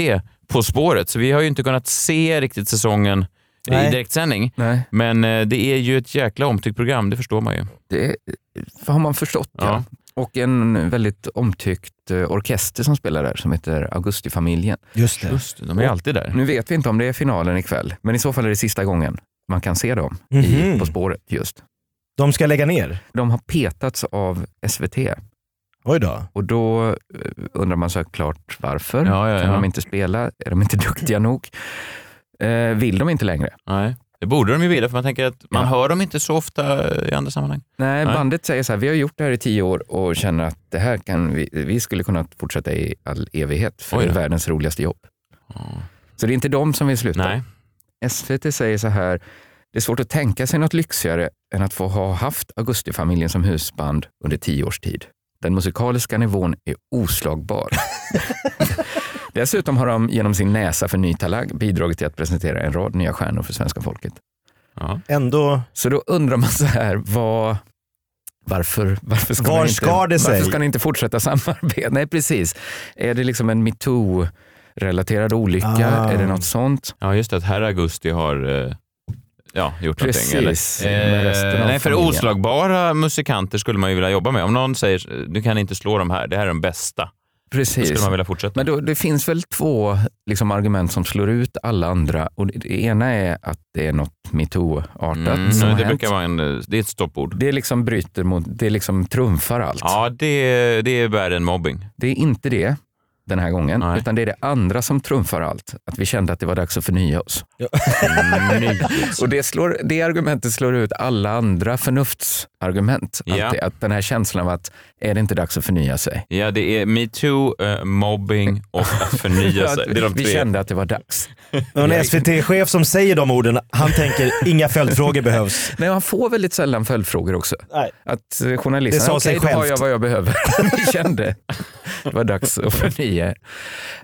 [SPEAKER 1] På spåret, så vi har ju inte kunnat se riktigt säsongen
[SPEAKER 4] Nej.
[SPEAKER 1] i direktsändning.
[SPEAKER 4] Nej.
[SPEAKER 1] Men eh, det är ju ett jäkla omtyckt program, det förstår man ju.
[SPEAKER 4] Det har man förstått ja.
[SPEAKER 1] Ja.
[SPEAKER 4] Och en väldigt omtyckt eh, orkester som spelar där som heter Augustifamiljen.
[SPEAKER 3] Just det.
[SPEAKER 1] de är alltid där.
[SPEAKER 4] Nu vet vi inte om det är finalen ikväll, men i så fall är det sista gången man kan se dem i
[SPEAKER 3] Mhm.
[SPEAKER 4] På spåret just.
[SPEAKER 3] De ska lägga ner?
[SPEAKER 4] De har petats av SVT.
[SPEAKER 3] Oj då.
[SPEAKER 4] Och då eh, undrar man såklart varför.
[SPEAKER 1] Ja, ja,
[SPEAKER 4] kan
[SPEAKER 1] ja.
[SPEAKER 4] de inte spela? Är de inte duktiga nog? Eh, vill de inte längre?
[SPEAKER 1] Nej, det borde de ju vilja för man tänker att man hör dem inte så ofta eh, i andra sammanhang.
[SPEAKER 4] Nej, bandet säger så här, vi har gjort det här i tio år och känner att det här kan vi, vi skulle kunna fortsätta i all evighet, för
[SPEAKER 1] Oj
[SPEAKER 4] det är
[SPEAKER 1] då.
[SPEAKER 4] världens roligaste jobb. Så det är inte de som vill sluta. SVT säger så här, det är svårt att tänka sig något lyxigare än att få ha haft Augustifamiljen som husband under tio års tid. Den musikaliska nivån är oslagbar. Dessutom har de genom sin näsa för ny talang bidragit till att presentera en rad nya stjärnor för svenska folket.
[SPEAKER 3] Ändå...
[SPEAKER 4] Så då undrar man så här, vad, varför, varför, ska
[SPEAKER 3] Var
[SPEAKER 4] ni inte,
[SPEAKER 3] skar det sig?
[SPEAKER 4] varför ska ni inte fortsätta samarbeta? Nej, precis. Är det liksom en metoo-relaterad olycka?
[SPEAKER 1] Ah.
[SPEAKER 4] Är det något sånt?
[SPEAKER 1] Ja, just det. Att herr Augusti har eh, ja, gjort
[SPEAKER 4] Precis,
[SPEAKER 1] någonting.
[SPEAKER 4] med resten
[SPEAKER 1] Eh,
[SPEAKER 4] av
[SPEAKER 1] nej, för
[SPEAKER 4] familjen.
[SPEAKER 1] oslagbara musikanter skulle man ju vilja jobba med. Om någon säger du kan inte slå de här, det här är de bästa. Då
[SPEAKER 4] Precis.
[SPEAKER 1] skulle man vilja fortsätta.
[SPEAKER 4] Men då, det finns väl två liksom, argument som slår ut alla andra. Och det, det ena är att det är något metoo-artat
[SPEAKER 1] Mm,
[SPEAKER 4] som
[SPEAKER 1] det
[SPEAKER 4] har hänt.
[SPEAKER 1] brukar vara en, eh, det är ett stoppord.
[SPEAKER 4] Det liksom bryter mot, det liksom trumfar allt.
[SPEAKER 1] Ja, det, det är värre än mobbing.
[SPEAKER 4] Det är inte det den här gången, utan det är det andra som trumfar allt. Att vi kände att det var dags att förnya oss. Mm. och det, slår, det argumentet slår ut alla andra förnuftsargument.
[SPEAKER 1] Ja.
[SPEAKER 4] Att, det, att den här känslan av att är det inte dags att förnya sig?
[SPEAKER 1] Ja, det är metoo, eh, mobbing och att förnya sig. Det är de
[SPEAKER 4] vi
[SPEAKER 1] tre.
[SPEAKER 4] kände att det var dags.
[SPEAKER 3] Men en SVT-chef som säger de orden, han tänker inga följdfrågor behövs.
[SPEAKER 4] Nej, han får väldigt sällan följdfrågor också.
[SPEAKER 3] Nej.
[SPEAKER 4] Att eh, journalisten,
[SPEAKER 3] Det sa sig
[SPEAKER 4] okej då har
[SPEAKER 3] självt.
[SPEAKER 4] jag vad jag behöver. Vi kände det var dags att förnya er.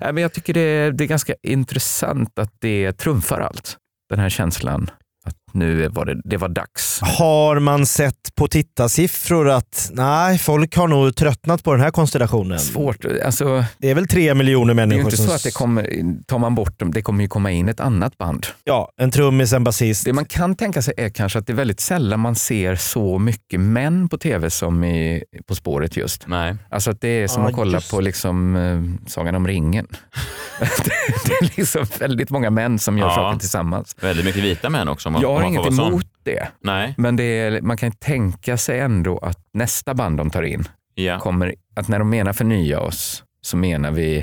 [SPEAKER 4] Nej, men Jag tycker det är, det är ganska intressant att det trumfar allt. Den här känslan att nu var det, det var dags.
[SPEAKER 3] Har man sett på tittarsiffror att nej, folk har nog tröttnat på den här konstellationen?
[SPEAKER 4] Svårt. Alltså,
[SPEAKER 3] det är väl tre miljoner
[SPEAKER 4] Det är ju
[SPEAKER 3] människor
[SPEAKER 4] inte
[SPEAKER 3] som...
[SPEAKER 4] så att det kommer, tar man bort dem, det kommer ju komma in ett annat band.
[SPEAKER 3] Ja, en trummis, en basist.
[SPEAKER 4] Det man kan tänka sig är kanske att det är väldigt sällan man ser så mycket män på tv som i På spåret just.
[SPEAKER 1] Nej.
[SPEAKER 4] Alltså att det är som
[SPEAKER 1] Ja,
[SPEAKER 4] att kolla
[SPEAKER 1] just
[SPEAKER 4] på liksom, eh, Sagan om ringen. det, är liksom väldigt många män som gör
[SPEAKER 1] Ja.
[SPEAKER 4] saker tillsammans.
[SPEAKER 1] Väldigt mycket vita män också. Om man,
[SPEAKER 4] Jag har
[SPEAKER 1] om man får
[SPEAKER 4] inget
[SPEAKER 1] vara sån.
[SPEAKER 4] emot det.
[SPEAKER 1] Nej.
[SPEAKER 4] Men det är, man kan tänka sig ändå att nästa band de tar in,
[SPEAKER 1] Ja.
[SPEAKER 4] kommer, att när de menar förnya oss så menar vi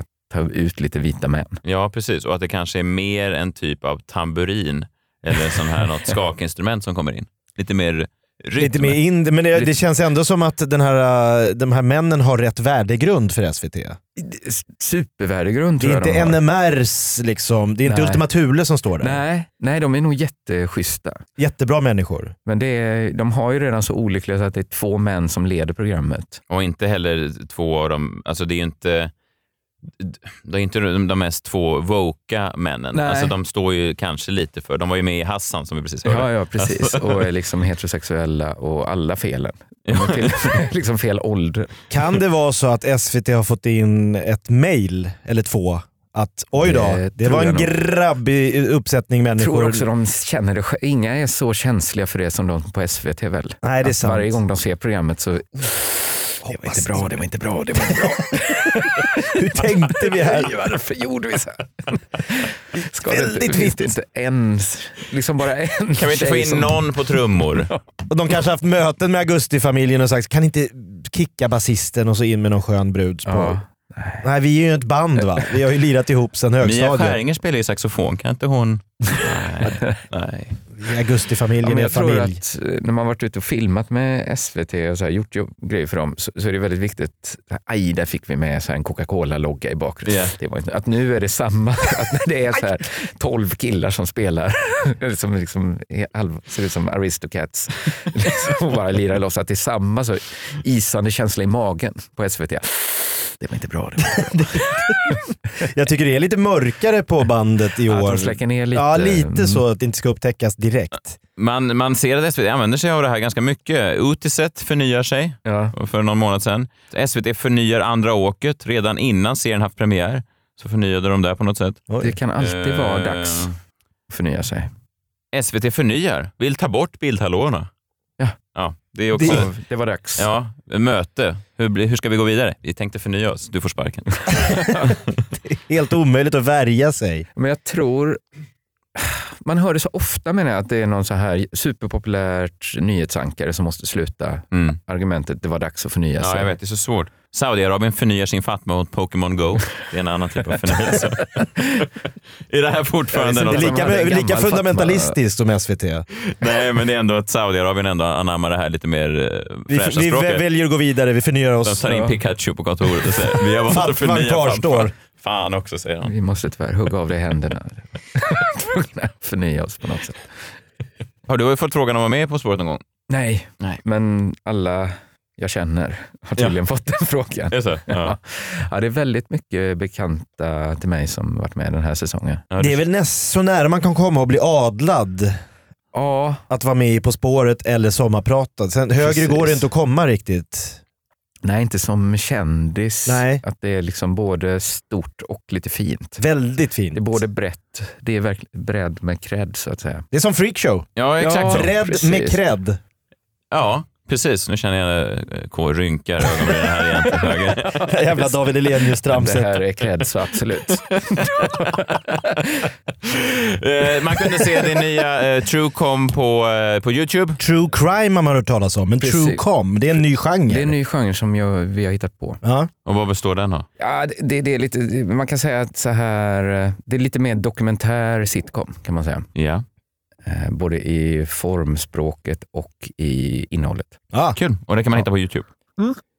[SPEAKER 4] att ta ut lite vita män.
[SPEAKER 1] Ja, precis. Och att det kanske är mer en typ av tamburin eller sån här något skakinstrument som kommer in. Lite mer
[SPEAKER 3] Lite mer in, men det, det känns ändå som att den här, äh, de här männen har rätt värdegrund för SVT.
[SPEAKER 4] Supervärdegrund
[SPEAKER 3] Det
[SPEAKER 4] tror
[SPEAKER 3] är
[SPEAKER 4] jag de
[SPEAKER 3] inte
[SPEAKER 4] har.
[SPEAKER 3] NMRs liksom, det är inte
[SPEAKER 4] Nej.
[SPEAKER 3] Ultima Thule som står där.
[SPEAKER 4] Nej, nej, de är nog jätteschyssta.
[SPEAKER 3] Jättebra människor.
[SPEAKER 4] Men det är, de har ju redan så olyckliga så att det är två män som leder programmet.
[SPEAKER 1] Och inte heller två av dem, alltså det är ju inte det är inte de de mest två woka männen.
[SPEAKER 4] Nej.
[SPEAKER 1] Alltså de står ju kanske lite för, de var ju med i Hassan som vi precis hörde.
[SPEAKER 4] Ja, ja precis.
[SPEAKER 1] Alltså-
[SPEAKER 4] Och är liksom heterosexuella och alla felen. De är till, liksom fel ålder.
[SPEAKER 3] Kan det vara så att SVT har fått in ett mail, eller två, att oj då,
[SPEAKER 4] Det
[SPEAKER 3] det,
[SPEAKER 4] tror
[SPEAKER 3] var en
[SPEAKER 4] jag nog.
[SPEAKER 3] grabbig uppsättning
[SPEAKER 4] Jag
[SPEAKER 3] människor.
[SPEAKER 4] tror också de känner det. sj- Inga är så känsliga för det som de på SVT väl?
[SPEAKER 3] Nej, det är
[SPEAKER 4] Att
[SPEAKER 3] sant.
[SPEAKER 4] Varje gång de ser programmet så... Det var inte bra, det var inte bra, det var inte bra.
[SPEAKER 3] Hur tänkte vi här?
[SPEAKER 4] Varför gjorde vi så här? Ska det
[SPEAKER 3] Väldigt
[SPEAKER 4] inte, finns det inte en, liksom bara en
[SPEAKER 1] Kan vi inte få
[SPEAKER 4] tjej
[SPEAKER 1] in
[SPEAKER 4] som-
[SPEAKER 1] någon på trummor?
[SPEAKER 3] Och de kanske haft möten med Augustifamiljen och sagt, kan inte kicka basisten och så in med någon skön brud? På.
[SPEAKER 1] Ja.
[SPEAKER 3] Nej, vi är ju ett band va? Vi har ju lirat ihop sedan
[SPEAKER 1] Mia
[SPEAKER 3] högstadiet.
[SPEAKER 1] Skäringer spelar ju saxofon, kan inte hon? Nej. Nej.
[SPEAKER 4] Ja,
[SPEAKER 3] Augustifamiljen
[SPEAKER 4] men
[SPEAKER 3] är
[SPEAKER 4] jag tror
[SPEAKER 3] familj.
[SPEAKER 4] att eh, när man varit ute och filmat med SVT och så här, gjort jobb, grejer för dem så, så är det väldigt viktigt. Aj, där fick vi med så här en Coca-Cola-logga i bakgrunden.
[SPEAKER 1] Ja.
[SPEAKER 4] Det var inte, att nu är det samma. Att när det är så här, 12 killar som spelar, som liksom, är halv- ser ut som Aristocats, liksom, och bara lirar loss. Att det är samma så, isande känsla i magen på SVT. Det var inte bra. Det var inte
[SPEAKER 3] Jag tycker det är lite mörkare på bandet i
[SPEAKER 4] bra. Att
[SPEAKER 3] år.
[SPEAKER 4] de släcker ner lite.
[SPEAKER 3] Ja, lite så att det inte ska upptäckas direkt.
[SPEAKER 1] Man, man ser att SVT använder sig av det här ganska mycket. Utiset förnyar sig för någon månad sedan. SVT förnyar Andra åket. Redan innan serien haft premiär så förnyade de det på något sätt.
[SPEAKER 4] Det kan alltid vara
[SPEAKER 1] Eh,
[SPEAKER 4] dags att förnya sig.
[SPEAKER 1] SVT förnyar, vill ta bort bildhallåorna.
[SPEAKER 4] Ja.
[SPEAKER 1] ja det, är också,
[SPEAKER 4] Det- det var dags.
[SPEAKER 1] Ja, möte. Hur, blir- hur ska vi gå vidare? Vi tänkte förnya oss. Du får sparken.
[SPEAKER 3] Helt omöjligt att värja sig.
[SPEAKER 4] Men jag tror, man hör det så ofta menar jag, att det är någon så här superpopulärt nyhetsankare som måste sluta.
[SPEAKER 1] Mm.
[SPEAKER 4] Argumentet det var dags att förnya
[SPEAKER 1] Ja,
[SPEAKER 4] sig.
[SPEAKER 1] jag vet. Det är så svårt. Saudiarabien förnyar sin Fatma mot Pokémon Go. Det är en annan typ av förnyelse. är det här fortfarande
[SPEAKER 3] Det
[SPEAKER 1] något
[SPEAKER 3] är
[SPEAKER 1] som-
[SPEAKER 3] lika, lika fundamentalistiskt som SVT.
[SPEAKER 1] Nej, men det är ändå att Saudiarabien ändå anammar det här lite mer eh,
[SPEAKER 3] Vi,
[SPEAKER 1] fräscha
[SPEAKER 3] vi
[SPEAKER 1] språket.
[SPEAKER 3] väljer att gå vidare, vi förnyar
[SPEAKER 1] De
[SPEAKER 3] oss.
[SPEAKER 1] tar in Pikachu på kontoret och säger vi har valt att
[SPEAKER 3] Fatman
[SPEAKER 1] förnya
[SPEAKER 3] kvarstår.
[SPEAKER 1] Fatma. Fan också, säger han.
[SPEAKER 4] Vi måste tyvärr hugga av dig händerna. Tvungna att förnya oss på något sätt.
[SPEAKER 1] Har du fått frågan om att vara med På spåret någon gång?
[SPEAKER 4] Nej, men alla jag känner har tydligen
[SPEAKER 1] Ja.
[SPEAKER 4] fått den frågan.
[SPEAKER 1] Är det så?
[SPEAKER 4] Ja. Ja, det är väldigt mycket bekanta till mig som varit med den här säsongen.
[SPEAKER 3] Det är väl näst så nära man kan komma att bli adlad.
[SPEAKER 4] Ja.
[SPEAKER 3] Att vara med i På spåret eller Sommarpratat. Sen, högre
[SPEAKER 4] Precis.
[SPEAKER 3] går det inte att komma riktigt.
[SPEAKER 4] Nej, inte som kändis.
[SPEAKER 3] Nej.
[SPEAKER 4] Att det är liksom både stort och lite fint.
[SPEAKER 3] Väldigt fint.
[SPEAKER 4] Det är både brett, det är verkligen bredd med cred så att säga.
[SPEAKER 3] Det är som freakshow.
[SPEAKER 1] Ja, exakt så.
[SPEAKER 3] Bredd
[SPEAKER 1] Precis.
[SPEAKER 3] med cred.
[SPEAKER 1] Ja, precis. Nu känner jag eh, K rynkar ögonbrynen här igen till höger.
[SPEAKER 3] Jävla David Hellenius-tramset.
[SPEAKER 4] Det här är cred så absolut.
[SPEAKER 1] Eh, Man kunde se det nya eh, Truecom på, eh, på Youtube.
[SPEAKER 3] True crime har man hört talas om, men
[SPEAKER 4] Precis.
[SPEAKER 3] true com, det är en ny genre.
[SPEAKER 4] Det är en ny genre som jag, vi har hittat på.
[SPEAKER 3] Ja.
[SPEAKER 1] Och vad består den av?
[SPEAKER 4] Ja, det- det, det är lite, det- man kan säga att så här, eh, det är lite mer dokumentär sitcom kan man säga.
[SPEAKER 1] Ja.
[SPEAKER 4] Eh, Både i formspråket och i innehållet.
[SPEAKER 1] Kul. Och det kan man hitta på Youtube.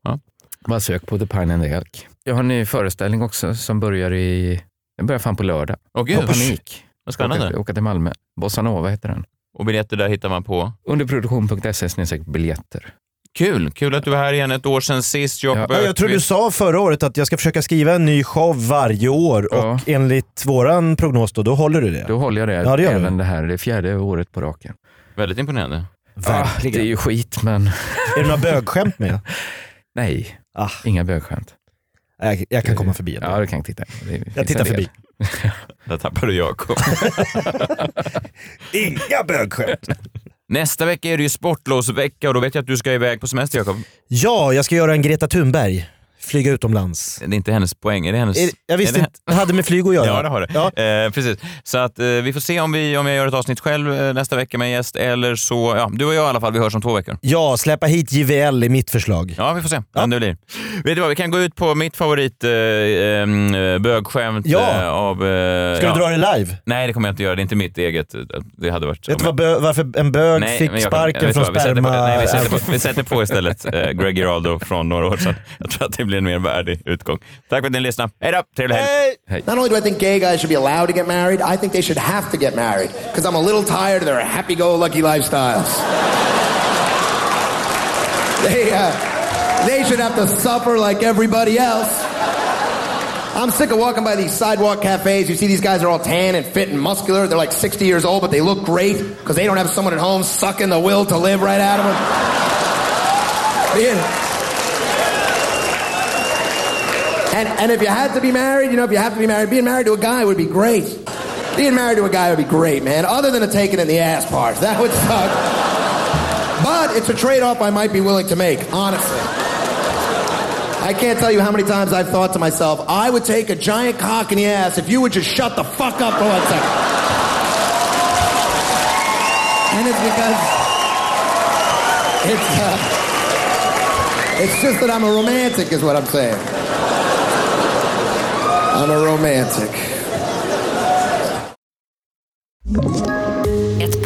[SPEAKER 1] Ja.
[SPEAKER 4] Bara sök på The Pine and the Elk. Jag har en ny föreställning också som börjar i, den börjar fan på lördag.
[SPEAKER 1] Åh, gud.
[SPEAKER 4] På panik.
[SPEAKER 1] Vad spännande.
[SPEAKER 4] Åka, åka till Malmö. Bossa Nova heter den.
[SPEAKER 1] Och biljetter där hittar man på?
[SPEAKER 4] Underproduktion.se snedstreck biljetter.
[SPEAKER 1] Kul. Kul att du var här igen ett år sedan sist, Jakob
[SPEAKER 3] Ja, jag tror du
[SPEAKER 1] Öqvist.
[SPEAKER 3] sa förra året att jag ska försöka skriva en ny show varje år och enligt våran prognos då, då håller du det.
[SPEAKER 4] Då håller jag det,
[SPEAKER 3] Ja, det gör
[SPEAKER 4] även
[SPEAKER 3] du.
[SPEAKER 4] det här. Det är fjärde året på raken.
[SPEAKER 1] Väldigt imponerande.
[SPEAKER 4] Verkligen. det är ju skit, men...
[SPEAKER 3] Är det några bögskämt med?
[SPEAKER 4] Nej, inga bögskämt.
[SPEAKER 3] Ah, Jag, jag kan komma förbi.
[SPEAKER 4] Ja, du kan titta. Det finns
[SPEAKER 3] Jag tittar
[SPEAKER 4] en del.
[SPEAKER 3] förbi.
[SPEAKER 1] Där tappar du Jakob.
[SPEAKER 3] Inga bögskämt.
[SPEAKER 1] Nästa vecka är det ju sportlovsvecka och då vet jag att du ska iväg på semester, Jakob.
[SPEAKER 3] Ja, jag ska göra en Greta Thunberg. Flyga utomlands.
[SPEAKER 1] Det är inte hennes poäng. Är det hennes,
[SPEAKER 3] Är det- jag visste
[SPEAKER 1] är det,
[SPEAKER 3] inte. Det hade med flyg att göra.
[SPEAKER 1] Ja, det har det. Eh, precis. Så att, eh, vi får se om, vi, om jag gör ett avsnitt själv eh, nästa vecka med en gäst eller så, ja, du och jag i alla fall, vi hörs om två veckor.
[SPEAKER 3] Ja, släppa hit JVL i mitt förslag.
[SPEAKER 1] Ja, vi får se vem det blir. Vet du vad, vi kan gå ut på mitt favorit eh, em, eh, bögskämt
[SPEAKER 3] Ja.
[SPEAKER 1] eh, av... Eh,
[SPEAKER 3] Ska du
[SPEAKER 1] ja.
[SPEAKER 3] dra det live?
[SPEAKER 1] Nej, det kommer jag inte göra. Det är inte mitt eget. Det hade varit...
[SPEAKER 3] Vet du vad bö- varför en bög
[SPEAKER 1] Nej, men
[SPEAKER 3] fick
[SPEAKER 1] jag kan-
[SPEAKER 3] sparken
[SPEAKER 1] vet du
[SPEAKER 3] från
[SPEAKER 1] vad, vi sätter på-
[SPEAKER 3] sperma...
[SPEAKER 1] Nej, vi sätter på, vi sätter på istället eh, Greg Giraldo från några år sedan. Jag tror att det blir en mer värdig utgång. Tack för att ni lyssnade. Hej då! Trevlig helg! Hej.
[SPEAKER 18] Not only do I think gay guys should be allowed to get married, I think they should have to get married because I'm a little tired of their happy-go-lucky lifestyles. they, uh, they should have to suffer like everybody else. I'm sick of walking by these sidewalk cafes. You see these guys are all tan and fit and muscular. They're like 60 years old, but they look great because they don't have someone at home sucking the will to live right out of them. Being- And, and if you had to be married, you know, if you have to be married, being married to a guy would be great. Being married to a guy would be great, man. Other than the taking in the ass part, that would suck. But it's a trade-off I might be willing to make, honestly. I can't tell you how many times I've thought to myself, I would take a giant cock in the ass if you would just shut the fuck up for one second. And it's because it's uh, it's just that I'm a romantic, is what I'm saying. I'm a romantic.
[SPEAKER 10] Ett